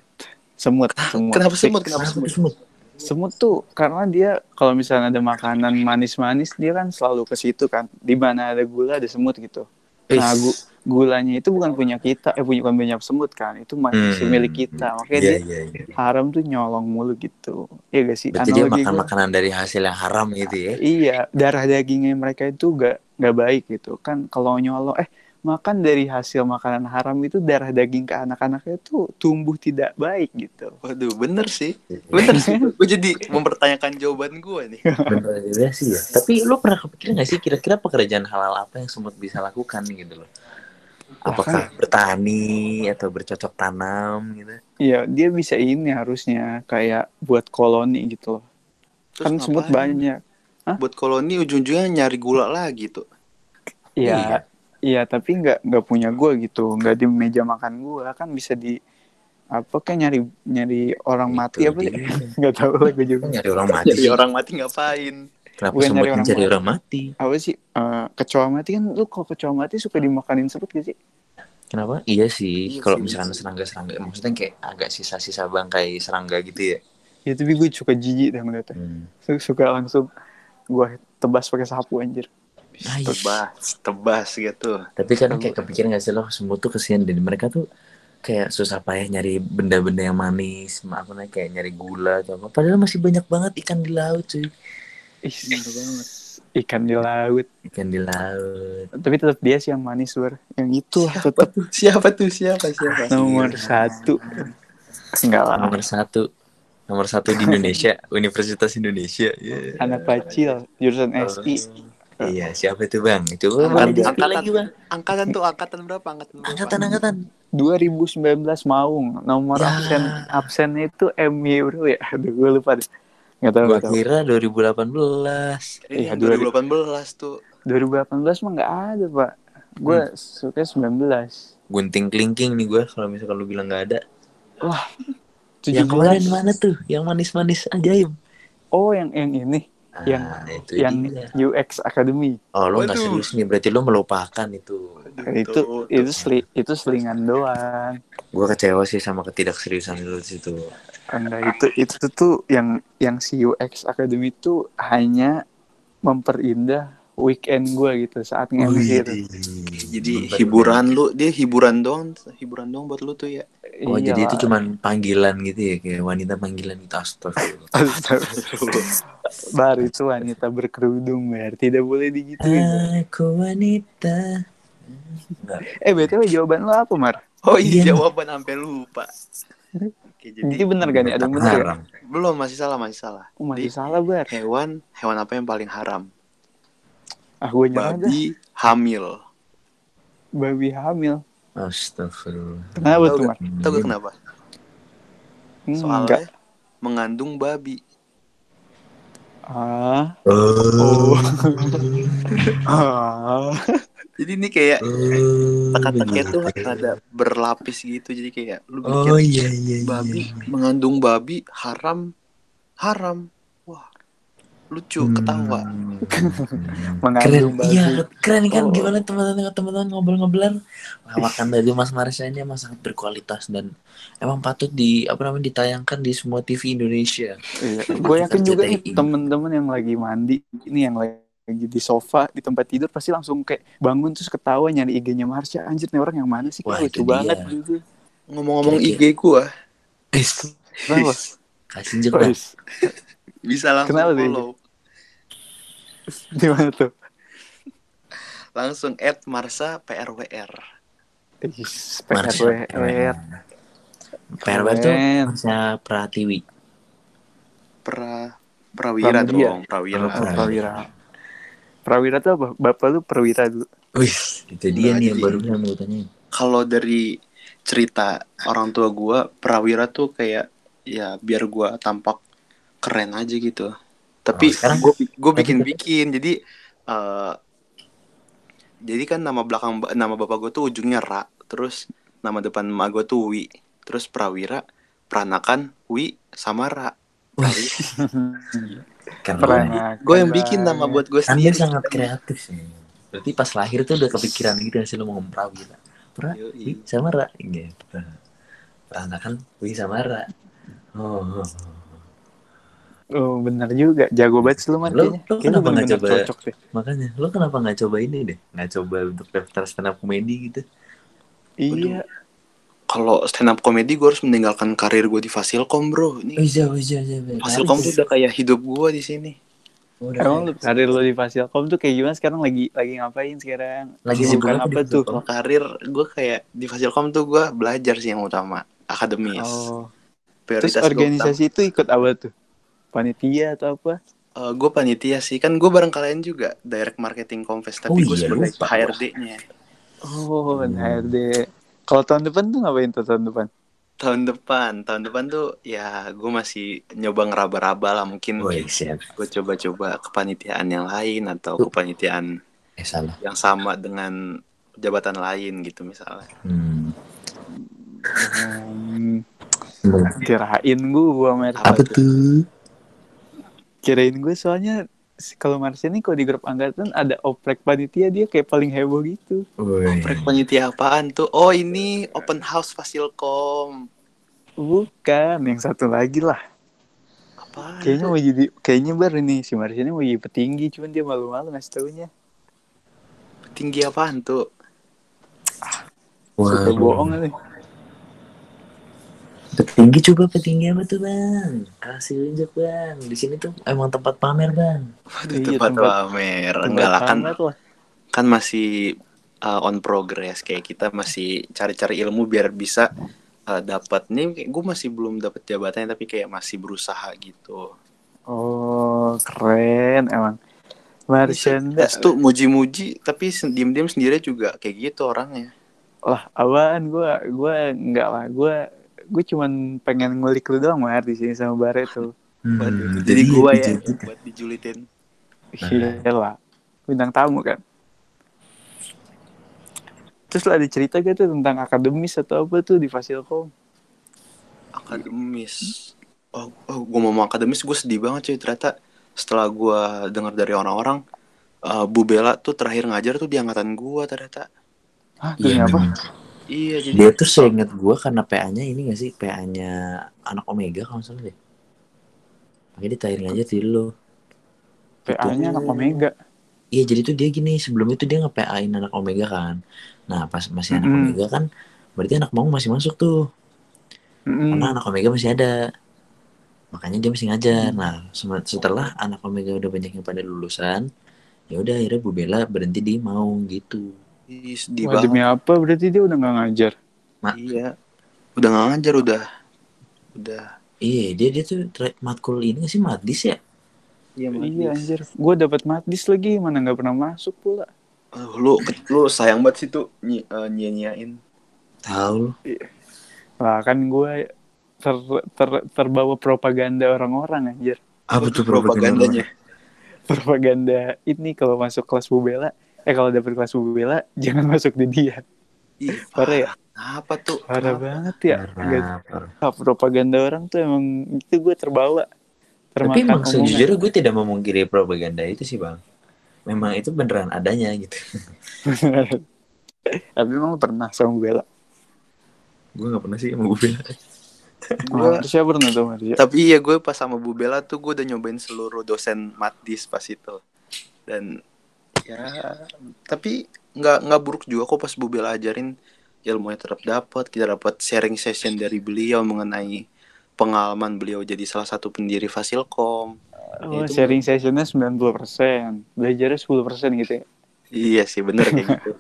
Semut, semut.
Kenapa semut? Kenapa
Kenapa
semut?
tuh semut?
semut tuh karena dia kalau misalnya ada makanan manis-manis dia kan selalu ke situ kan di mana ada gula ada semut gitu nah
Is.
gu- gulanya itu bukan punya kita eh punya bukan punya semut kan itu masih
Hmm.
milik kita makanya
Iya,
dia
iya, iya.
haram tuh nyolong mulu gitu ya gak sih
Berarti dia
Analogi
makan
gua-
makanan dari hasil yang haram gitu ya.
iya darah dagingnya mereka itu gak gak baik gitu kan kalau nyolong eh makan dari hasil makanan haram itu darah daging ke anak-anaknya tuh tumbuh tidak baik gitu
Waduh, bener sih. Bener sih. Gue jadi mempertanyakan jawaban gue nih.
Iya,
Bener juga sih ya. Tapi lu pernah kepikiran gak sih kira-kira pekerjaan halal apa yang semut bisa lakukan gitu loh? Apakah bertani atau bercocok tanam gitu?
Iya, dia bisa ini harusnya kayak buat koloni gitu loh.
Terus
kan semut
ngapain?
banyak.
Buat koloni ujung-ujungnya nyari gula lagi tuh.
Iya,
Iya.
iya tapi nggak nggak punya gua gitu, nggak di meja makan gua kan bisa di apa kayak nyari nyari orang
Itu
mati apa
Gitu dia. kan
sih? Nggak tahu lah gue juga.
Nyari orang mati
iya.
Jadi
sih.
orang mati ngapain?
Kenapa
Bukan
semut
nyari orang
mencari
mati.
orang mati?
Apa sih? eh, kecoa mati kan lu kalau kecoa mati suka dimakanin semut gak sih?
Kenapa? Iya sih.
Iya
Kalau
sih,
misalkan
iya sih.
serangga-serangga, maksudnya kayak agak sisa-sisa bangkai serangga gitu ya.
Ya Hmm. tapi gue suka jijik dah ngeliatnya. Su- Suka langsung gua tebas pakai sapu anjir.
Bis,
Nice.
iya.
tebas tebas gitu
Tapi kadang kayak kepikiran gak sih lo semua tuh kesian dan mereka tuh kayak susah payah nyari benda-benda yang manis, maaf namanya kayak nyari gula atau apa. Padahal masih banyak banget ikan di laut cuy.
Ih, bener banget. Ikan di laut.
Ikan di laut.
Tapi tetap dia sih yang manis, Bar. Yang itu lah tetap
siapa tuh siapa siapa
nomor satu. Enggak lah.
Nomor satu, nomor satu di Indonesia, Universitas Indonesia. Yeah.
Anak pacil, jurusan SI.
Oh, Iya, siapa itu bang? Itu
Angkatan-
bang,
angkatan.
lagi bang.
angkatan tuh angkatan berapa angkatan berapa?
Angkatan-angkatan.
2019 Maung. Nomor
Ya.
absen absennya itu MY, Bro ya. Aduh, gue lupa deh. Enggak tahu,
Gua
enggak tahu.
kira 2018.
ini
Iya,
yang
dua-
2018 tuh
2018 mah enggak ada, Pak. Gue
Hmm.
suka 19.
Gunting kelingking nih gua kalau misalkan lu bilang nggak ada.
17.
Yang kemarin mana tuh? Yang manis-manis ajaib.
Oh, yang yang ini, Yang-
Ah, itu
yang
dia.
UX Academy.
Oh, lu nggak
Waduh.
serius nih. Berarti lu melupakan itu.
Nah, itu Iya. itu seli- itu selingan doang.
Gue kecewa sih sama ketidakseriusan lu di situ.
Enggak itu itu tuh yang yang si UX Academy itu hanya memperindah weekend gue gitu saat
Oh,
nge
iya,
gitu.
jadi hiburan lu dia hiburan doang hiburan doang buat lu tuh ya
Oh, jadi
Iyalah.
itu cuman panggilan gitu ya, kayak wanita panggilan itu astagfirullah.
Astaga. Bar itu wanita berkerudung bar tidak boleh digituin.
Aku wanita.
Eh btw jawaban lo apa Mar?
oh
Iya.
iya jawaban sampai lupa Oke, jadi
Itu bener gak nih ada yang bener ya?
Haram.
belum masih salah masih salah
Oh, masih salah bar.
hewan hewan apa yang paling haram
Ah gue nyala dah.
babi hamil
Babi hamil.
Astagfirullah.
Kenapa
Tahu
tuh
gak,
Mar?
tahu
Iya.
gak kenapa
Hmm,
soalnya
enggak.
mengandung babi
Ah.
Oh.
Oh. ah.
jadi ini kayak
Oh,
kata-katanya tuh
bener.
ada berlapis gitu jadi kayak lu mikir
Oh iya iya iya.
babi mengandung babi haram haram wah lucu ketawa
Hmm.
Mengandung
keren, iya,
babi.
keren kan
Oh.
gimana teman-teman teman-teman ngobrol-ngobrolan lawakan dari Mas Marsha ini emang sangat berkualitas dan emang patut di apa namanya ditayangkan di semua TV Indonesia
Gue Iya, yakin
Kita
juga nih
ceritain.
temen-temen yang lagi mandi ini yang lagi di sofa di tempat tidur pasti langsung kayak bangun terus ketawa nyari IG-nya Marsha anjir nih orang yang mana sih
Wah,
kayak
itu
lucu
dia.
banget gitu
ngomong-ngomong
Oke.
IG gua
Kenapa?
kasih aja Pak.
Wes,
bisa langsung
Kenapa tuh?
follow
di mana tuh
langsung add Marsa PRWR
Is,
Marsha
ya, PRWR.
PRWR tuh
Keren.
Marsha Pratiwi
pra prawira
Pramudia.
dong prawira
Oh, pra-
Prawira Prawira tuh apa? Bapak lu perwira dulu
Wih, itu dia
Nah,
nih yang
jadi-
baru saya mau tanya
kalau dari cerita orang tua gua prawira tuh kayak ya biar gua tampak keren aja gitu
Oh,
tapi
sekarang-
gue bikin bikin jadi eh, jadi kan nama belakang ba- nama bapak gue tuh ujungnya ra terus nama depan emak gue tuh wi terus prawira peranakan wi sama ra
keren
Peranakan
gue yang bikin nama
banget.
buat gue
kan dia
sendiri
sangat kreatif sih berarti pas lahir tuh udah kepikiran gitu sih lo mau ngomprau gitu pra
Yoi.
Wih sama Ra gitu. Anak kan Wih sama Ra. Oh, oh, oh.
Oh bener juga Jago banget sih lu Mar
Lu-
kayaknya.
lu
Kayaknya
kenapa nggak
bener-bener
coba-
cocok deh
makanya lo kenapa nggak coba ini deh? Nggak coba untuk daftar stand up comedy gitu?
Iya
kalau stand up comedy gue harus meninggalkan karir gue di Fasilkom bro ini
Bisa, bisa, bisa.
Fasilkom tuh udah kayak hidup gue di sini
Emang lu
Iya.
karir lu di Fasilkom tuh kayak gimana sekarang lagi lagi ngapain sekarang?
Lagi
Bukan
sibuk apa
apa
di
tuh?
Fasilkom?
kalau karir gue kayak di Fasilkom tuh gue belajar sih yang utama akademis
Oh.
prioritas
Terus
gua
organisasi itu ikut apa tuh? Panitia atau apa?
gue Eh, panitia sih kan gue bareng kalian juga direct marketing confess
Oh
tapi gue
iya,
sebagai
lupa.
HRD-nya
Oh,
Hmm.
HRD. Kalau tahun depan tuh ngapain tuh tahun depan?
tahun depan tahun depan tuh ya gue masih nyoba ngeraba-raba lah mungkin
Woi, siap.
gue coba-coba kepanitiaan yang lain atau
Tuh.
kepanitiaan
Eh salah.
yang sama dengan jabatan lain gitu misalnya
Hmm.
Hmm,
Hmm.
kirain gue Mer.
Apa tuh?
Kirain gue soalnya si- kalau Marsha nih kalau di grup angkatan ada oprek panitia dia kayak paling heboh gitu.
Woi.
Oprek panitia apaan tuh? Oh ini open house Fasilkom.
Bukan, yang satu lagi lah.
Apaan?
Kayaknya mau jadi kayaknya baru nih si Marsha ini mau jadi petinggi cuman dia malu-malu ngasih taunya.
tinggi apaan tuh
Suka bohong kali.
Petinggi coba petinggi apa tuh bang? Kasih tunjuk bang. Di sini tuh emang tempat pamer bang.
Waduh,
Iya,
tempat
tempat-
pamer enggak lah kan
Banget lah.
kan masih uh, on progress kayak kita masih cari-cari ilmu biar bisa uh, dapat nih gue masih belum dapat jabatannya tapi kayak masih berusaha gitu
Oh, keren emang. Marcanda.
Terus tuh muji-muji tapi sen- diem-diem sendiri juga kayak gitu orangnya
Lah, awaan gua gua enggak lah. Gua gua cuman pengen ngulik lu doang Mar di sini sama Bare tuh.
Waduh, jadi gue ya
Hmm,
gitu.
jadi-
buat dijulitin
Nah.
Iya lah. Bintang tamu kan. Terus lah ada cerita gak tuh tentang akademis atau apa tuh di Fasilkom?
akademis oh, oh gue mau ngomong akademis gue sedih banget cuy ternyata setelah gue dengar dari orang-orang uh, Bu Bella tuh terakhir ngajar tuh di angkatan gue ternyata
Hah,
Iya,
dunia apa?
memang.
iya jadi
Dia tuh seinget gue karena PA-nya ini gak sih PA-nya anak Omega kalau nggak salah deh. Makanya ditahirin aja tuh dulu.
PA-nya anak Omega.
Iya jadi tuh dia gini sebelum itu dia nge-PA-in anak Omega kan. Nah pas masih anak
Mm-mm.
Omega kan berarti anak mau masih masuk tuh.
Mm-mm.
Karena anak Omega masih ada. Makanya dia masih ngajar. Nah sem- setelah anak Omega udah banyak yang pada lulusan, ya udah akhirnya Bu Bella berhenti di mau gitu.
Ih, sedih
Wah,
banget
demi apa berarti dia udah nggak ngajar?
Iya. Udah nggak ngajar udah. Udah.
Iya dia dia tuh tra- matkul ini nggak sih madis ya.
Iya,
Iya anjir, gue dapat matdis lagi mana nggak pernah masuk pula.
Eh, lu lu sayang banget sih tuh nyi, eh, nyia-nyiain.
Tahu lu.
Lah kan gue ter, ter- terbawa propaganda orang-orang anjir.
apa
Itu
tuh propaganda
propagandanya?
Propaganda ini kalau masuk kelas bubela, eh kalau dapat kelas bubela jangan masuk di dia.
Ih,
Parah ya?
Apa tuh?
Parah
Kenapa?
banget ya. Nggak-
Nah,
ah, propaganda orang tuh emang itu gue terbawa.
Tapi
Termakan
emang
omongan.
sejujurnya gue tidak memungkiri propaganda itu sih bang. Memang itu beneran adanya gitu.
Tapi emang lu pernah sama bubela.
gue nggak pernah sih sama Bu Bella.
Gua-
Marsha pernah tuh Marsha.
tapi iya gue pas sama Bu Bella tuh gue udah nyobain seluruh dosen matdis pas itu. Dan ya tapi nggak nggak buruk juga kok pas Bu Bella ajarin ilmunya tetap dapat kita dapat sharing session dari beliau mengenai pengalaman beliau jadi salah satu pendiri Fasilkom
Oh,
itu-
sharing sessionnya 90%, belajarnya 10% gitu ya.
iya sih bener kayak gitu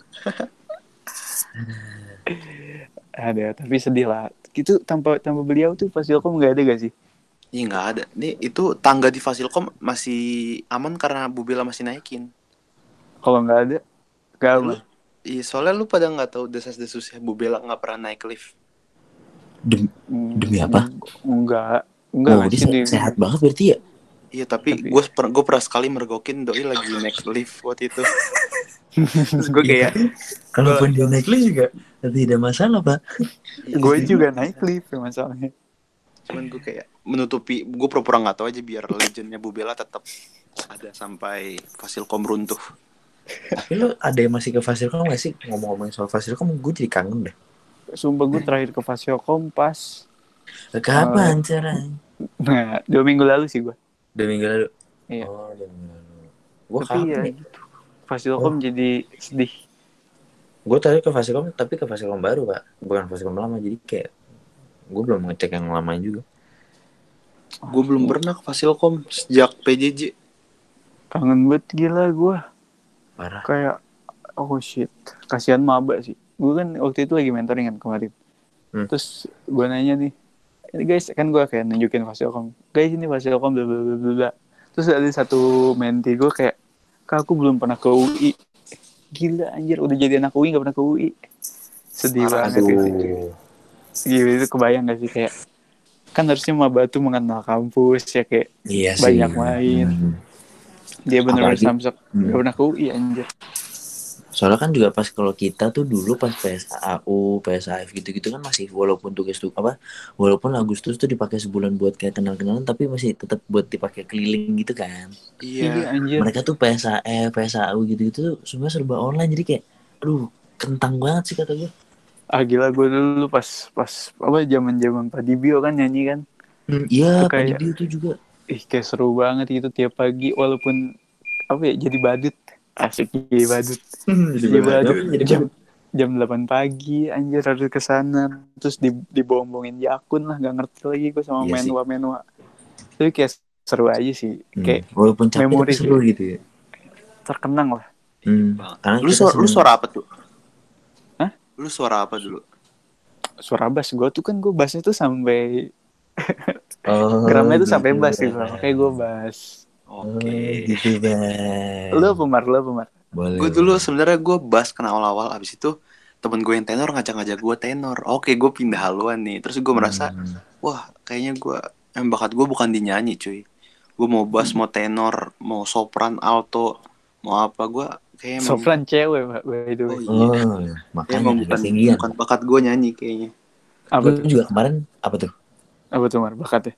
Ada, tapi sedih lah. Itu tanpa tanpa beliau tuh Fasilkom nggak ada gak sih?
Iya nggak ada. Nih itu tangga di Fasilkom masih aman karena Bu Bella masih naikin.
Kalau nggak ada, nggak aman.
Iya soalnya lu pada nggak tahu desas-desusnya Bu Bella nggak pernah naik lift.
Hmm,
Demi apa?
Enggak, enggak
oh, dia
sih di-
se- sehat banget berarti ya.
Iya tapi,
Tapi-
gue per- gue pernah sekali mergokin doi lagi naik lift waktu itu. Terus gue
ya.
kayak
Iya. Kalaupun dia naik lift juga tidak masalah pak. Iya.
Iya.
Gue juga naik lift ya masalahnya.
cuman gue kayak menutupi gue pura-pura nggak tahu aja biar legendnya Bu Bella tetap ada sampai Fasilkom runtuh.
Tapi Ya, lu ada yang masih ke Fasilkom nggak sih ngomong-ngomong soal Fasilkom? Gue jadi kangen deh.
Sumpah gue terakhir ke Fasilkom pas,
Kapan
Oh, iya.
caranya?
nah dua minggu lalu sih gue.
Dua minggu lalu.
Iya.
Oh, dua minggu lalu. Gue
Tapi ya
kapan?
gitu. Fasilkom
Oh.
jadi sedih.
Gue tadi ke Fasilkom tapi ke Fasilkom baru pak, bukan Fasilkom lama jadi kayak gue belum ngecek yang lama juga.
Gue belum pernah ke Fasilkom sejak PJJ.
Kangen banget gila gue.
Parah.
Kayak, oh shit. Kasihan maba sih. Gue kan waktu itu lagi mentoring kan kemarin.
Hmm.
Terus gue nanya nih, ini guys kan gue kayak nunjukin Fasilkom. Guys ini Fasilkom bla bla bla bla bla. Terus ada satu menti gue kayak, kak aku belum pernah ke UI. Gila anjir, udah jadi anak UI gak pernah ke UI. Sedih banget gitu. Gila itu kebayang gak sih kayak, kan harusnya maba tuh mengenal kampus ya kayak
Iya sih.
Banyak main.
Hmm.
dia bener-bener
Apalagi-
samsak
Hmm.
gak pernah ke UI anjir.
Soalnya kan juga pas kalau kita tuh dulu pas PSAU, PSAF gitu-gitu kan masih walaupun tugas tuh apa walaupun Agustus tuh dipakai sebulan buat kayak kenal-kenalan tapi masih tetap buat dipakai keliling gitu kan.
Iya
Iya.
anjir.
Mereka tuh PSAF, PSAU gitu-gitu tuh semua serba online jadi kayak aduh kentang banget sih kata gue.
Ah gila gue dulu pas pas apa zaman-zaman Padibio kan nyanyi kan.
Iya,
Itu kayak-
Pandibio tuh juga.
Ih kayak seru banget gitu tiap pagi walaupun apa ya jadi badut. Asik iya badut. Iya badut. Jam,
Hmm,
jam 8 pagi anjir harus ke sana. Terus di, dibombongin Yakun lah gak ngerti lagi gue sama
Iya sih.
menua-menua. Tapi kayak seru aja sih. Kayak
Hmm, walaupun capek
memori Iya,
tapi seru gitu ya.
terkenang lah.
Hmm, karena
lu
kita
suara, lu
seneng.
suara apa tuh?
Hah?
Lu suara apa dulu?
Suara bass gue tuh kan gue bassnya tuh sampai
Oh,
gramnya tuh sampai
gitu.
bass gitu. lah. Makanya gue bass.
Oh,
Oke.
gitu Bang.
Lu pemar, lu pemar.
boleh.
Gue dulu sebenarnya gue bahas kena awal-awal abis itu temen gue yang tenor ngajak-ngajak gue tenor. Oke, gue pindah haluan nih. Terus gue merasa,
Hmm.
wah kayaknya gue em bakat gue bukan di nyanyi cuy. Gue mau bass, mau tenor, mau sopran, alto, mau apa gue kayaknya emang-
Sopran cewek Pak, by the
Oh,
way.
iya.
Oh,
Kayaknya
makanya
emang
ada
bukan,
tinggian.
bukan bakat gue nyanyi kayaknya.
Apa
Lu
tuh?
juga kemarin apa tuh?
Apa tuh Mar? ya? Bakatnya?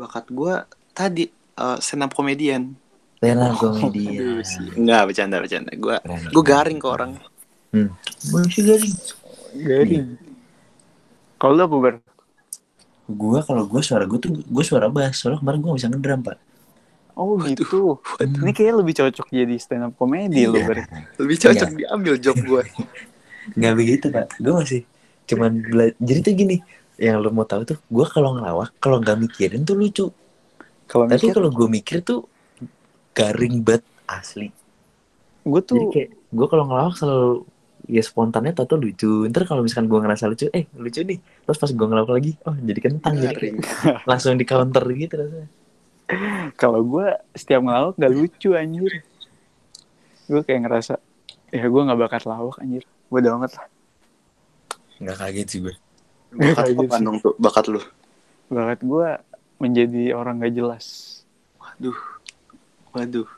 Bakat gue tadi eh stand up comedian.
Lena
Oh, Aduh,
Iya.
komedian.
sih. Enggak bercanda bercanda. Gue
Keren.
gue garing ke orang.
Masih garing. Iya,
Garing. Kalau lu apa Bar?
Gue kalau gue suara gue tuh gue suara bass. Soalnya kemarin gue gak bisa ngedrum pak.
Oh gitu. Ini kayaknya lebih cocok jadi stand up
Iya,
comedy lu Bar.
Lebih cocok
Iya.
diambil job gue.
Nggak begitu pak. Gue masih cuman bela- jadi tuh gini. Yang lo mau tahu tuh gue kalau ngelawak kalau nggak mikirin tuh lucu.
Kalau
Tapi
mikir,
kalau gue mikir tuh garing banget asli.
gue
Jadi
tuh
kayak gue kalau ngelawak selalu ya spontannya tau tuh lucu. Ntar kalau misalkan gue ngerasa lucu, eh lucu nih. Terus pas gue ngelawak lagi, oh jadi kentang jadi
Garing.
kayak langsung di counter gitu rasanya.
kalau gue setiap ngelawak gak lucu anjir. Gue kayak ngerasa ya gue nggak bakat lawak anjir. Bodoh amat lah.
Nggak kaget sih gue.
Bakat lu apa, Nong, tuh? Bakat lu.
Bakat gue menjadi orang gak jelas.
Waduh. Waduh.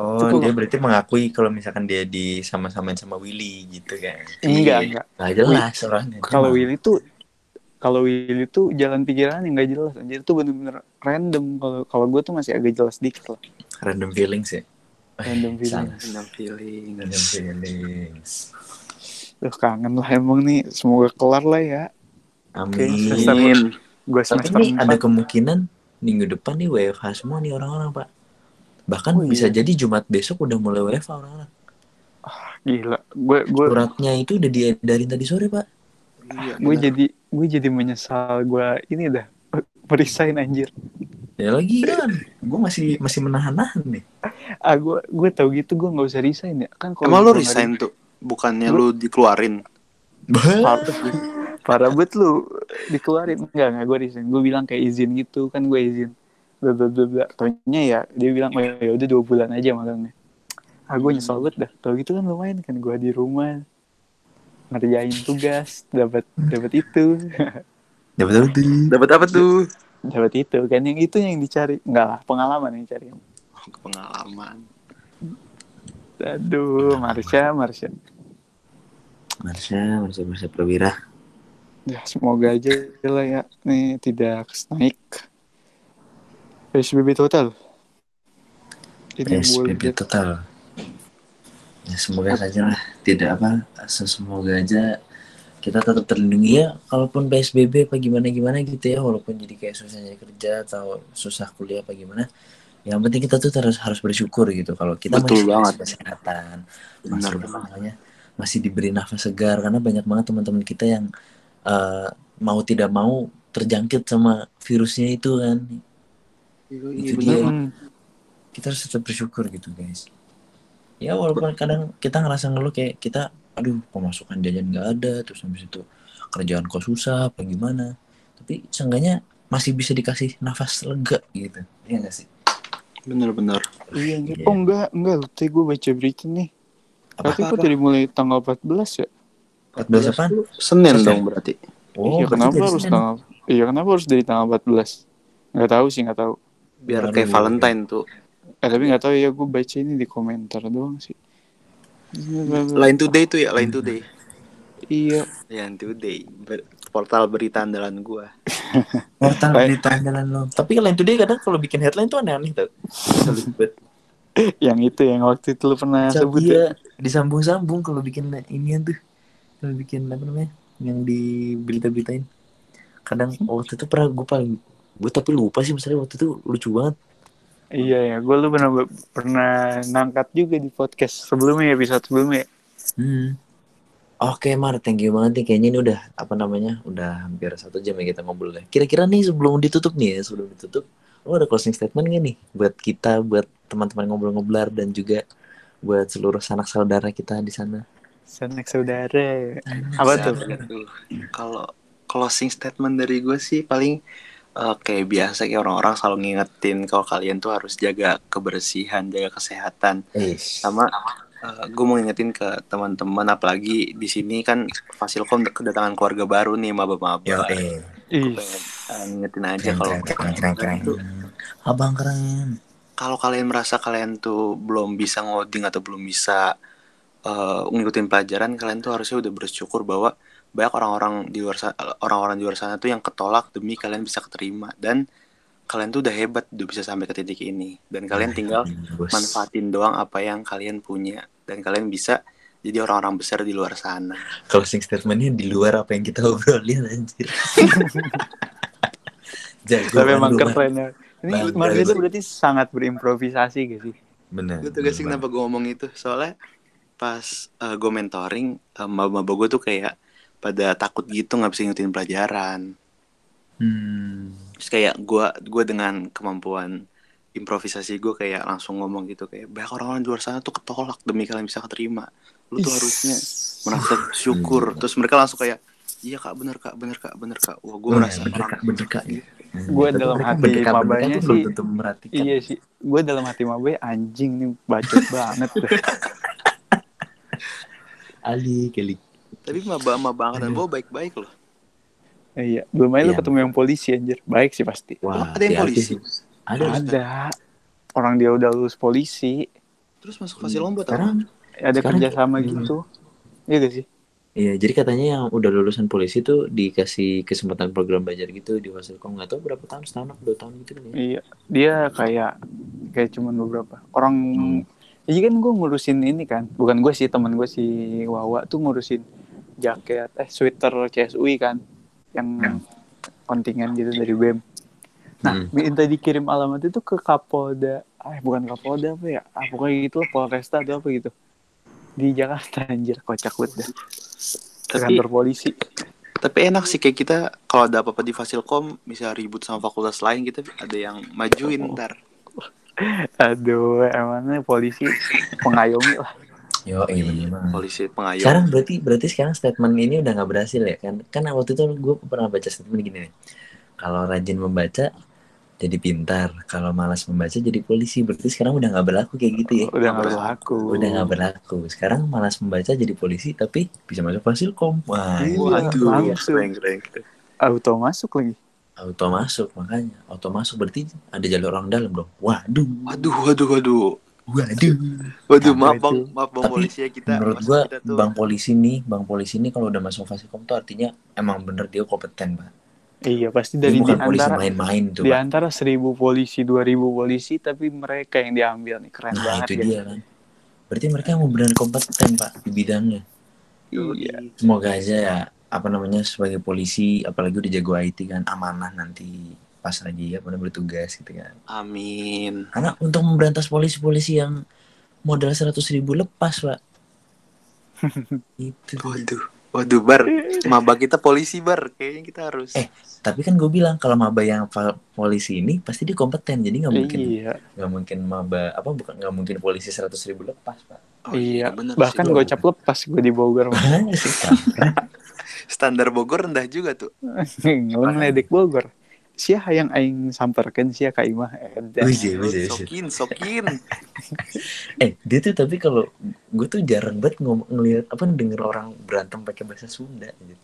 Oh,
Cukup.
dia berarti mengakui kalau misalkan dia di sama-samain sama Willy gitu kan.
Enggak, enggak.
Gak jelas orangnya.
Kalau
Cuma-
Willy tuh kalau Willy tuh jalan pikiran yang gak jelas anjir tuh bener-bener random kalau kalau gue tuh masih agak jelas dikit lah
random feelings ya.
random feeling.
Sama.
Enam feeling.
Iya.
Random feelings.
Duh kangen lah emang nih semoga kelar lah ya Oke,
Amin.
selesai.
Amin.
gue
Tapi
semester
ini ada
empat
kemungkinan minggu depan nih WFH semua nih orang-orang, Pak. Bahkan
Oh, iya.
bisa jadi Jumat besok udah mulai WFH orang-orang.
gila gue gue
Suratnya itu udah diedarin tadi sore, Pak.
Iya,
gue
bener.
jadi gue jadi menyesal gue ini dah perisain anjir
Ya
Eh,
lagi kan. Gue masih masih menahan-nahan nih.
ah gue gue tau gitu gue nggak usah resign ya kan kalau
Emang lu
gua nggak
resign tuh? Bukannya
Gua-
lu dikeluarin?
Parah. parah banget lu dikeluarin enggak enggak gue resign gue bilang kayak izin gitu kan gue izin bla bla bla bla taunya ya dia bilang oh ya udah dua bulan aja magangnya ah gue nyesel banget dah tau gitu kan lumayan kan gue di rumah ngerjain tugas dapat dapat itu
Dapat apa tuh?
Dapat apa tuh?
dapat itu kan yang itu yang dicari enggak lah pengalaman yang dicari
Pengalaman.
aduh Marsha Marsha
Marsha, Marsha, Marsha Prawira.
ya semoga aja lah ya nih tidak naik PSBB total ini boleh
PSBB total. Ya, semoga saja lah tidak apa semoga aja kita tetap terlindungi ya kalaupun PSBB apa gimana gimana gitu ya walaupun jadi kayak susah nyari kerja atau susah kuliah apa gimana yang penting kita tuh terus harus bersyukur gitu kalau kita masih
Betul banget.
kesehatan
Benar
masih apa
banget.
namanya, masih diberi nafas segar karena banyak banget teman-teman kita yang eh, mau tidak mau terjangkit sama virusnya itu kan
Iya,
Itu
bener.
dia.
Mm.
kita harus tetap bersyukur gitu guys ya walaupun kadang kita ngerasa ngeluh kayak kita aduh pemasukan jajan nggak ada terus habis itu kerjaan kok susah apa gimana tapi seenggaknya masih bisa dikasih nafas lega gitu Iya nggak sih
Bener-bener.
Iya, anjir.
Iya.
Oh enggak, enggak. lu Tadi gue baca berita nih.
Apa?
Tapi kok dari mulai tanggal 14 ya?
14 apaan?
Senin
Senin.
dong berarti.
iya,
Oh, berarti
kenapa
dari
harus
Senin.
tanggal... Iya, kenapa harus dari tanggal 14? Enggak tahu sih, enggak tahu.
Biar
Aduh.
kayak Valentine tuh.
Eh, tapi enggak tahu ya, gue baca ini di komentar doang sih. Iya,
Line Today tuh ya, Line Today.
Iya,
Line Today. Ber- portal berita andalan gua.
portal
Lain-
berita andalan lo tapi lain today kadang kalau bikin headline tuh aneh-aneh tuh
yang itu yang waktu itu lu pernah sebut. ya.
dia disambung-sambung kalau bikin inian tuh kalau bikin apa namanya yang di berita-beritain kadang waktu itu pernah gue paling gue tapi lupa sih misalnya waktu itu lucu banget
Iya ya, gue lu pernah pernah nangkat juga di podcast sebelumnya episode sebelumnya.
Hmm. Oke Mar, thank you banget nih. Kayaknya ini udah apa namanya? Udah hampir satu jam ya kita ngobrol ya. Kira-kira nih sebelum ditutup nih ya, sebelum ditutup, lo ada closing statement gak nih buat kita, buat teman-teman ngobrol-ngoblar dan juga buat seluruh sanak saudara kita di sana.
Sanak saudara. Apa tuh?
Sahabat tuh. Kalau closing statement dari gue sih paling eh, kayak biasa kayak orang-orang selalu ngingetin kalau kalian tuh harus jaga kebersihan, jaga kesehatan.
Eh,
sama gue mau ngingetin ke teman-teman apalagi di sini kan Fasilkom kedatangan keluarga baru nih maba-maba
yo eh,
Ih,
Eh, ngingetin aja
keren,
kalau
keren, keren, keren, keren. Abang keren.
kalau kalian merasa kalian tuh belum bisa ngoding atau belum bisa eh, ngikutin pelajaran kalian tuh harusnya udah bersyukur bahwa banyak orang-orang di luar sa- orang-orang di luar sana tuh yang ketolak demi kalian bisa keterima dan kalian tuh udah hebat udah bisa sampai ke titik ini dan
Nah,
kalian tinggal
Bos.
manfaatin doang apa yang kalian punya dan kalian bisa jadi orang-orang besar di luar sana
closing statementnya di luar apa yang kita obrolin anjir jago
tapi emang
banget,
keren ya. Ini
Bangga
Mar
gue.
itu berarti sangat berimprovisasi gak sih?
bener
Gue tuh gak sih
bener
kenapa gue ngomong itu Soalnya pas gue mentoring eh, Maba-maba gue tuh kayak Pada takut gitu gak bisa ngikutin pelajaran
banget. hmm.
Terus kayak gue gua dengan kemampuan Improvisasi gue kayak langsung ngomong gitu Kayak banyak orang-orang di luar sana tuh ketolak Demi kalian bisa keterima Lu tuh harusnya merasa syukur Terus mereka langsung kayak Iya kak bener kak bener kak bener kak Wah gue
Oh,
merasa
bener,
orang-
Kak, bener, Kak, gitu. Hmm,
Gue
tapi
dalam
mereka
hati
berdeka-berdeka
mabanya
tuh belum
sih-
tentu merhatikan
Iya sih, gue dalam hati mabe anjing nih bacot banget.
Ali kali
Tapi maba-maba angkatan gue baik-baik loh
iya, belum aja lu
Iya.
ketemu yang polisi anjir. Baik sih pasti.
wah
Emang Ada yang
hati-hati
polisi
sih. ada
Ada orang dia udah lulus polisi,
Terus masuk fasilom buat apa?
Iya, sekarang
ada
Sekarang
kerjasama
kayak-
gitu. Iya gak sih?
Iya, jadi katanya yang udah lulusan polisi tuh dikasih kesempatan program belajar gitu di Fasilkom nggak tahu berapa tahun, setahun apa dua tahun gitu kan ya.
Iya, dia kayak kayak cuman beberapa orang.
Hmm.
Iya kan gue ngurusin ini kan, bukan gue sih teman gue si Wawa tuh ngurusin jaket eh sweater CSUI kan, yang kontingen gitu dari BEM. Nah,
Hmm.
minta dikirim alamat itu ke Kapolda, eh bukan Kapolda apa ya, ah, pokoknya gitu lah Polresta atau apa gitu di Jakarta anjir kocak banget dah ke
Tapi
kantor polisi
Tapi enak sih kayak kita kalau ada apa-apa di Fasilkom bisa ribut sama fakultas lain kita ada yang majuin ntar.
aduh emangnya polisi mengayomi lah
Yo, iya bener banget.
Polisi
Iya.
pengayom.
Sekarang berarti berarti sekarang statement ini udah nggak berhasil ya kan? Kan waktu itu gue pernah baca statement gini nih. Kalau rajin membaca jadi pintar, kalau malas membaca jadi polisi. Berarti sekarang udah nggak berlaku kayak gitu ya?
udah nggak berlaku
Udah nggak berlaku. Sekarang malas membaca jadi polisi tapi bisa masuk fasilkom. Wah,
Iya.
itu
Waduh,
langsung.
keren, keren, keren.
auto masuk lagi
auto masuk makanya. Auto masuk berarti ada jalur orang dalam dong. Waduh,
Waduh, waduh, waduh.
waduh.
Apa
Waduh, maaf
itu?
bang, maaf bang
Tapi
polisi ya kita.
Menurut
Mas,
gua
kita tuh-
bang polisi nih, bang polisi nih kalau udah masuk fasilkom tuh artinya emang bener dia kompeten, Pak.
iya pasti
Dia
dari di
bukan polisi
antara
main-main tuh.
di
Pak.
antara seribu polisi dua ribu polisi tapi mereka yang diambil nih keren
Nah
banget
itu
ya
dia kan. Berarti mereka emang benar kompeten pak di bidangnya.
Iya.
Semoga aja ya apa namanya sebagai polisi apalagi udah jago IT kan amanah nanti pas lagi ya pada bertugas gitu kan.
Amin.
Karena untuk memberantas polisi-polisi yang modal 100 ribu lepas pak. itu tuh.
Waduh, waduh bar. Maba kita polisi bar. Kayaknya kita harus.
Eh. Tapi kan gue bilang kalau maba yang fa- polisi ini pasti dia kompeten jadi nggak mungkin
iya
nggak mungkin maba apa bukan nggak mungkin polisi 100 ribu lepas pak.
Oh,
iya
bener
bahkan
sih.
gocap lepas gue di Bogor
standar Bogor rendah juga tuh.
ngeleng ledek Bogor Sia yang aing samperkan sia ka imah eh,
Wih, wih, wih.
Sokin, sokin.
Eh, dia tuh tapi kalau gue tuh jarang banget ngom- ngelihat apa denger orang berantem pakai bahasa Sunda. gitu.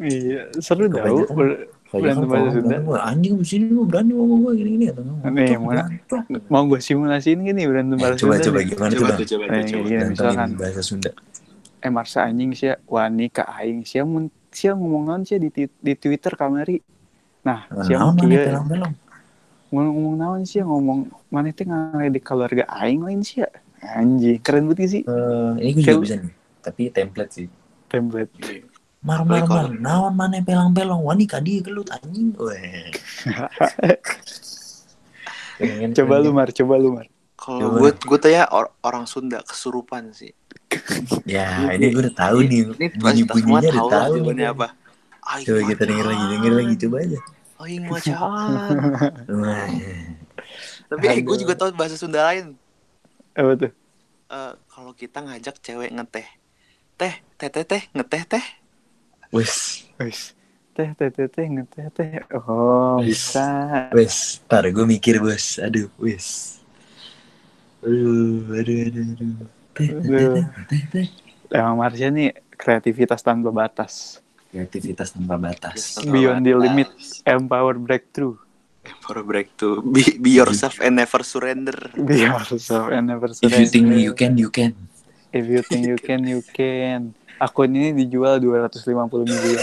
iya seru tau
Kebanyakan- Kayak kan
Berantem
kalau
bahasa Sunda.
berantem, "Wah, anjing di sini lu berani ngomong gue gini-gini atau ngomong.
Nih,
"Tuh,
mana- Iya,
berantem."
mau gue simulasiin gini berantem
Eh,
bahasa
coba
Sunda
coba
nih.
gimana coba?
Coba tuh, coba tuh,
Eh,
coba.
iya, misalkan.
Berantemin bahasa Sunda.
eh Marsa anjing sih wani ke aing sia mun sia ngomong naon sia di, ti- di Twitter kamari nah sia
Naon
mun
mana
kieu
pelong-pelong.
ngomong ngomong naon sia ngomong mana teh ngaledek keluarga aing lain sia anjing keren banget sih
Eh, ini gue juga
Kayak-
bisa nih. Tapi template sih.
template
Iya.
Mar mar
Tapi
mar,
kalau-
naon mana pelong-pelong, wani kadi gelut anjing. Weh. Pengen-
Coba
pengen.
lu Mar, coba lu Mar.
Kalau
Gimana?
gue gue tuh ya or- orang Sunda kesurupan sih.
Ya, ini gue udah tahu nih.
Ini pasti kita semua
Bunyi-bunyinya udah
tahu lah
tahu.
jawabannya
nih.
apa. Ah, Aing
Coba kita denger lagi, denger lagi, coba aja.
Aing Oh, macan.
Wah.
Tapi eh, gue juga tahu bahasa Sunda lain.
Apa tuh?
Eh, kalau kita ngajak cewek ngeteh. Teh, teh teh teh, ngeteh teh. Ya,
Wes,
Wis. Teh teh teh teh ngeteh teh. Oh,
Wis.
bisa.
wes. Ntar gue mikir bos. Aduh, wes. Aduh, aduh, aduh, aduh. Teh, teh, teh,
Aduh.
teh, teh.
Emang Marsha nih kreativitas tanpa batas.
Kreativitas tanpa batas.
Beyond the limit. Empower breakthrough.
Baru break to be, be yourself and never surrender.
Be yourself and never
Iya, If you
surrender.
think you can, you can.
If you think you can, you can. Akun ini dijual 250 miliar.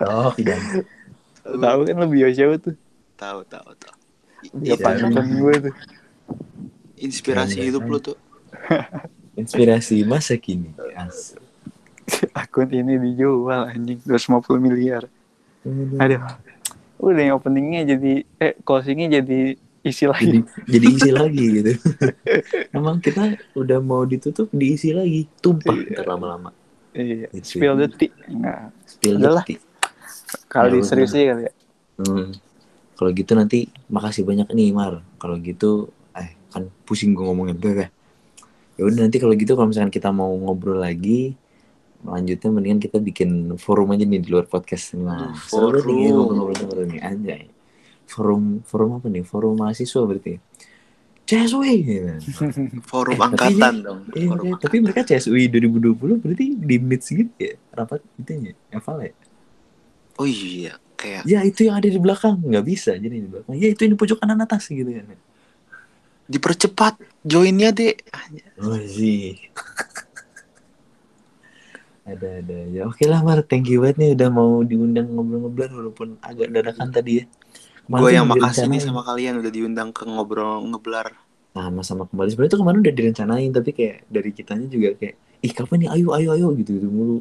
Oh, tidak.
Tahu kan lebih bio siapa tuh?
Tahu tahu tahu. I-
Dia
Iya.
panutan gue tuh.
Inspirasi
Iya,
hidup
iya.
lu tuh.
Inspirasi masa kini. As-
Akun ini dijual anjing 250 miliar. Aduh. Udah yang openingnya jadi eh closingnya jadi isi
Jadi,
lagi.
jadi isi lagi gitu. Emang kita udah mau ditutup diisi lagi. Tumpah ntar lama-lama.
Iya.
Gitu.
Spill the tea. Nah,
Spill the
Adalah.
tea.
kali
Ya,
serius sih kali ya.
Hmm. Kalau gitu nanti makasih banyak nih Mar. Kalau gitu eh kan pusing gue ngomongin bebe. Ya udah nanti kalau gitu kalau misalkan kita mau ngobrol lagi lanjutnya mendingan kita bikin forum aja nih di luar podcast. Nah,
Aduh,
seru nih
forum.
kayaknya ngobrol-ngobrol nih anjay. Forum forum apa nih? Forum mahasiswa berarti. CSW gitu. Eh,
Forum
tapi
angkatan
dia-
dong.
Iya,
Forum
iya. tapi mereka CSUI 2020 berarti di mid segitu ya rapat itu ya eval ya
Oh iya, kayak
ya itu yang ada di belakang nggak bisa jadi di belakang ya itu yang di pojok kanan atas gitu kan
dipercepat joinnya Ah, iya. deh.
Oh, Wajih. ada ada ya oke lah Mar thank you banget nih udah mau diundang ngobrol-ngobrol walaupun agak dadakan tadi ya Kemarin
Gue
tuh
yang
udah
makasih nih
direncanain.
sama kalian udah diundang ke ngobrol ngeblar.
sama-sama kembali sebenarnya tuh kemarin udah direncanain tapi kayak dari kitanya juga kayak ih kapan nih ayo ayo ayo gitu gitu mulu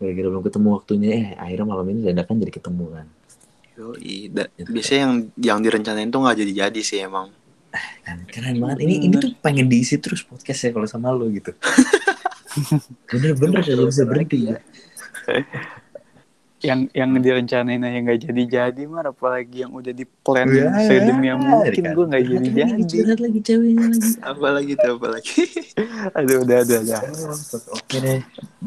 gara-gara belum ketemu waktunya eh akhirnya malam ini dadakan jadi ketemu kan
Yoi, da- biasanya yang yang direncanain tuh nggak jadi-jadi sih emang.
kan
Iya,
keren banget ini ini tuh pengen diisi terus podcast ya kalau sama lo gitu bener-bener kalau bisa berhenti ya
yang yang direncanain aja nggak jadi-jadi mar apalagi yang udah di plan
Ya,
sedemikian kan mungkin
kan.
gue nggak
Curhat lagi,
jadi-jadi
curhat lagi ceweknya lagi
Apalagi tuh apalagi.
iya.
aduh udah udah udah
oke deh
Eh,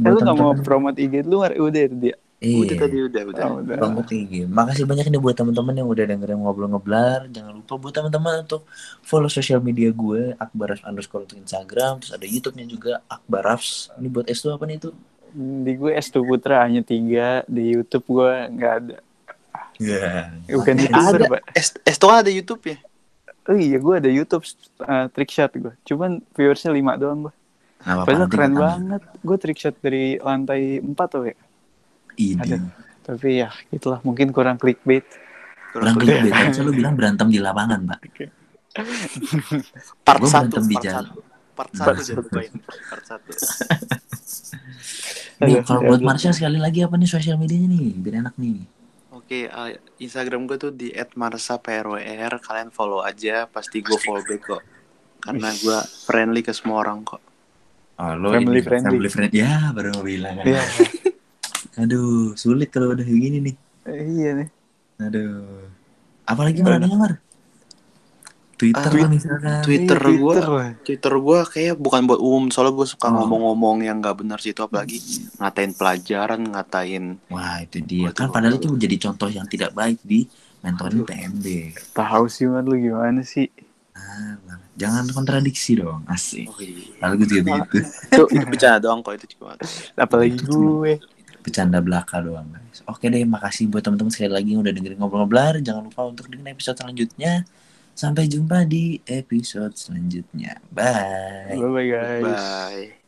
lu nggak mau promote IG lu mar udah ya, dia
udah
iya
tadi udah udah.
Oh, udah
Bang Putih. Makasih banyak nih buat teman-teman yang udah dengerin ngobrol ngeblar. Jangan lupa buat teman-teman untuk follow sosial media gue Akbarafs underscore untuk Instagram, terus ada YouTube-nya juga Akbarafs. Ini buat S tuh apa nih itu?
di gue S2 Putra hanya tiga di YouTube gue nggak ada
Iya.
Eh, bukan youtuber
ada.
pak
S, S tuh kan ada YouTube ya?
oh iya gue ada YouTube eh, trick shot gue cuman viewersnya lima doang gue padahal keren banget gue trick shot dari lantai empat tuh ya
Ini.
Ada. tapi ya gitulah mungkin kurang clickbait
Orang
Kurang
kelihatan
lebih.
ya?
kan selalu bilang berantem di lapangan, Pak.
Part
Gua
satu,
berantem di
part
jalan.
satu. Part
Part
satu jatuhin. Part satu.
Nih,
Aduh,
kalau
aduh.
buat Marsha sekali lagi apa nih sosial medianya nih? Biar enak nih.
Oke, eh, Instagram gue tuh di @marsaprwr. Kalian follow aja, pasti gue follow back kok. Karena gue friendly ke semua orang kok.
Oh, lo
Family ini, friendly. family
friendly. Ya, baru mau bilang.
Iya.
Aduh, sulit kalau udah kayak gini nih.
iya nih
Aduh. Apalagi mana ada Mar? Twitter
Ah,
lah misalkan.
Twitter
Iya,
gue
Twitter, Pak.
Twitter gue kayak bukan buat umum soalnya gue suka
Hmm.
ngomong-ngomong yang nggak benar situ apalagi ngatain pelajaran ngatain
Wah, itu dia.
Waduh,
Kan padahal itu menjadi contoh yang tidak baik di mentorin PMB.
Tahu sih man lu gimana sih?
Ah, Mar. jangan kontradiksi dong. Asik.
oh, iya.
Kalau gue juga begitu.
itu, itu bercanda doang kok itu cuma
Apalagi gue.
Bercanda belaka doang, guys. Oke deh, makasih buat teman-teman sekali lagi yang udah dengerin ngobrol-ngobrol. Jangan lupa untuk dengerin episode selanjutnya. Sampai jumpa di episode selanjutnya. Bye.
Bye bye guys.
bye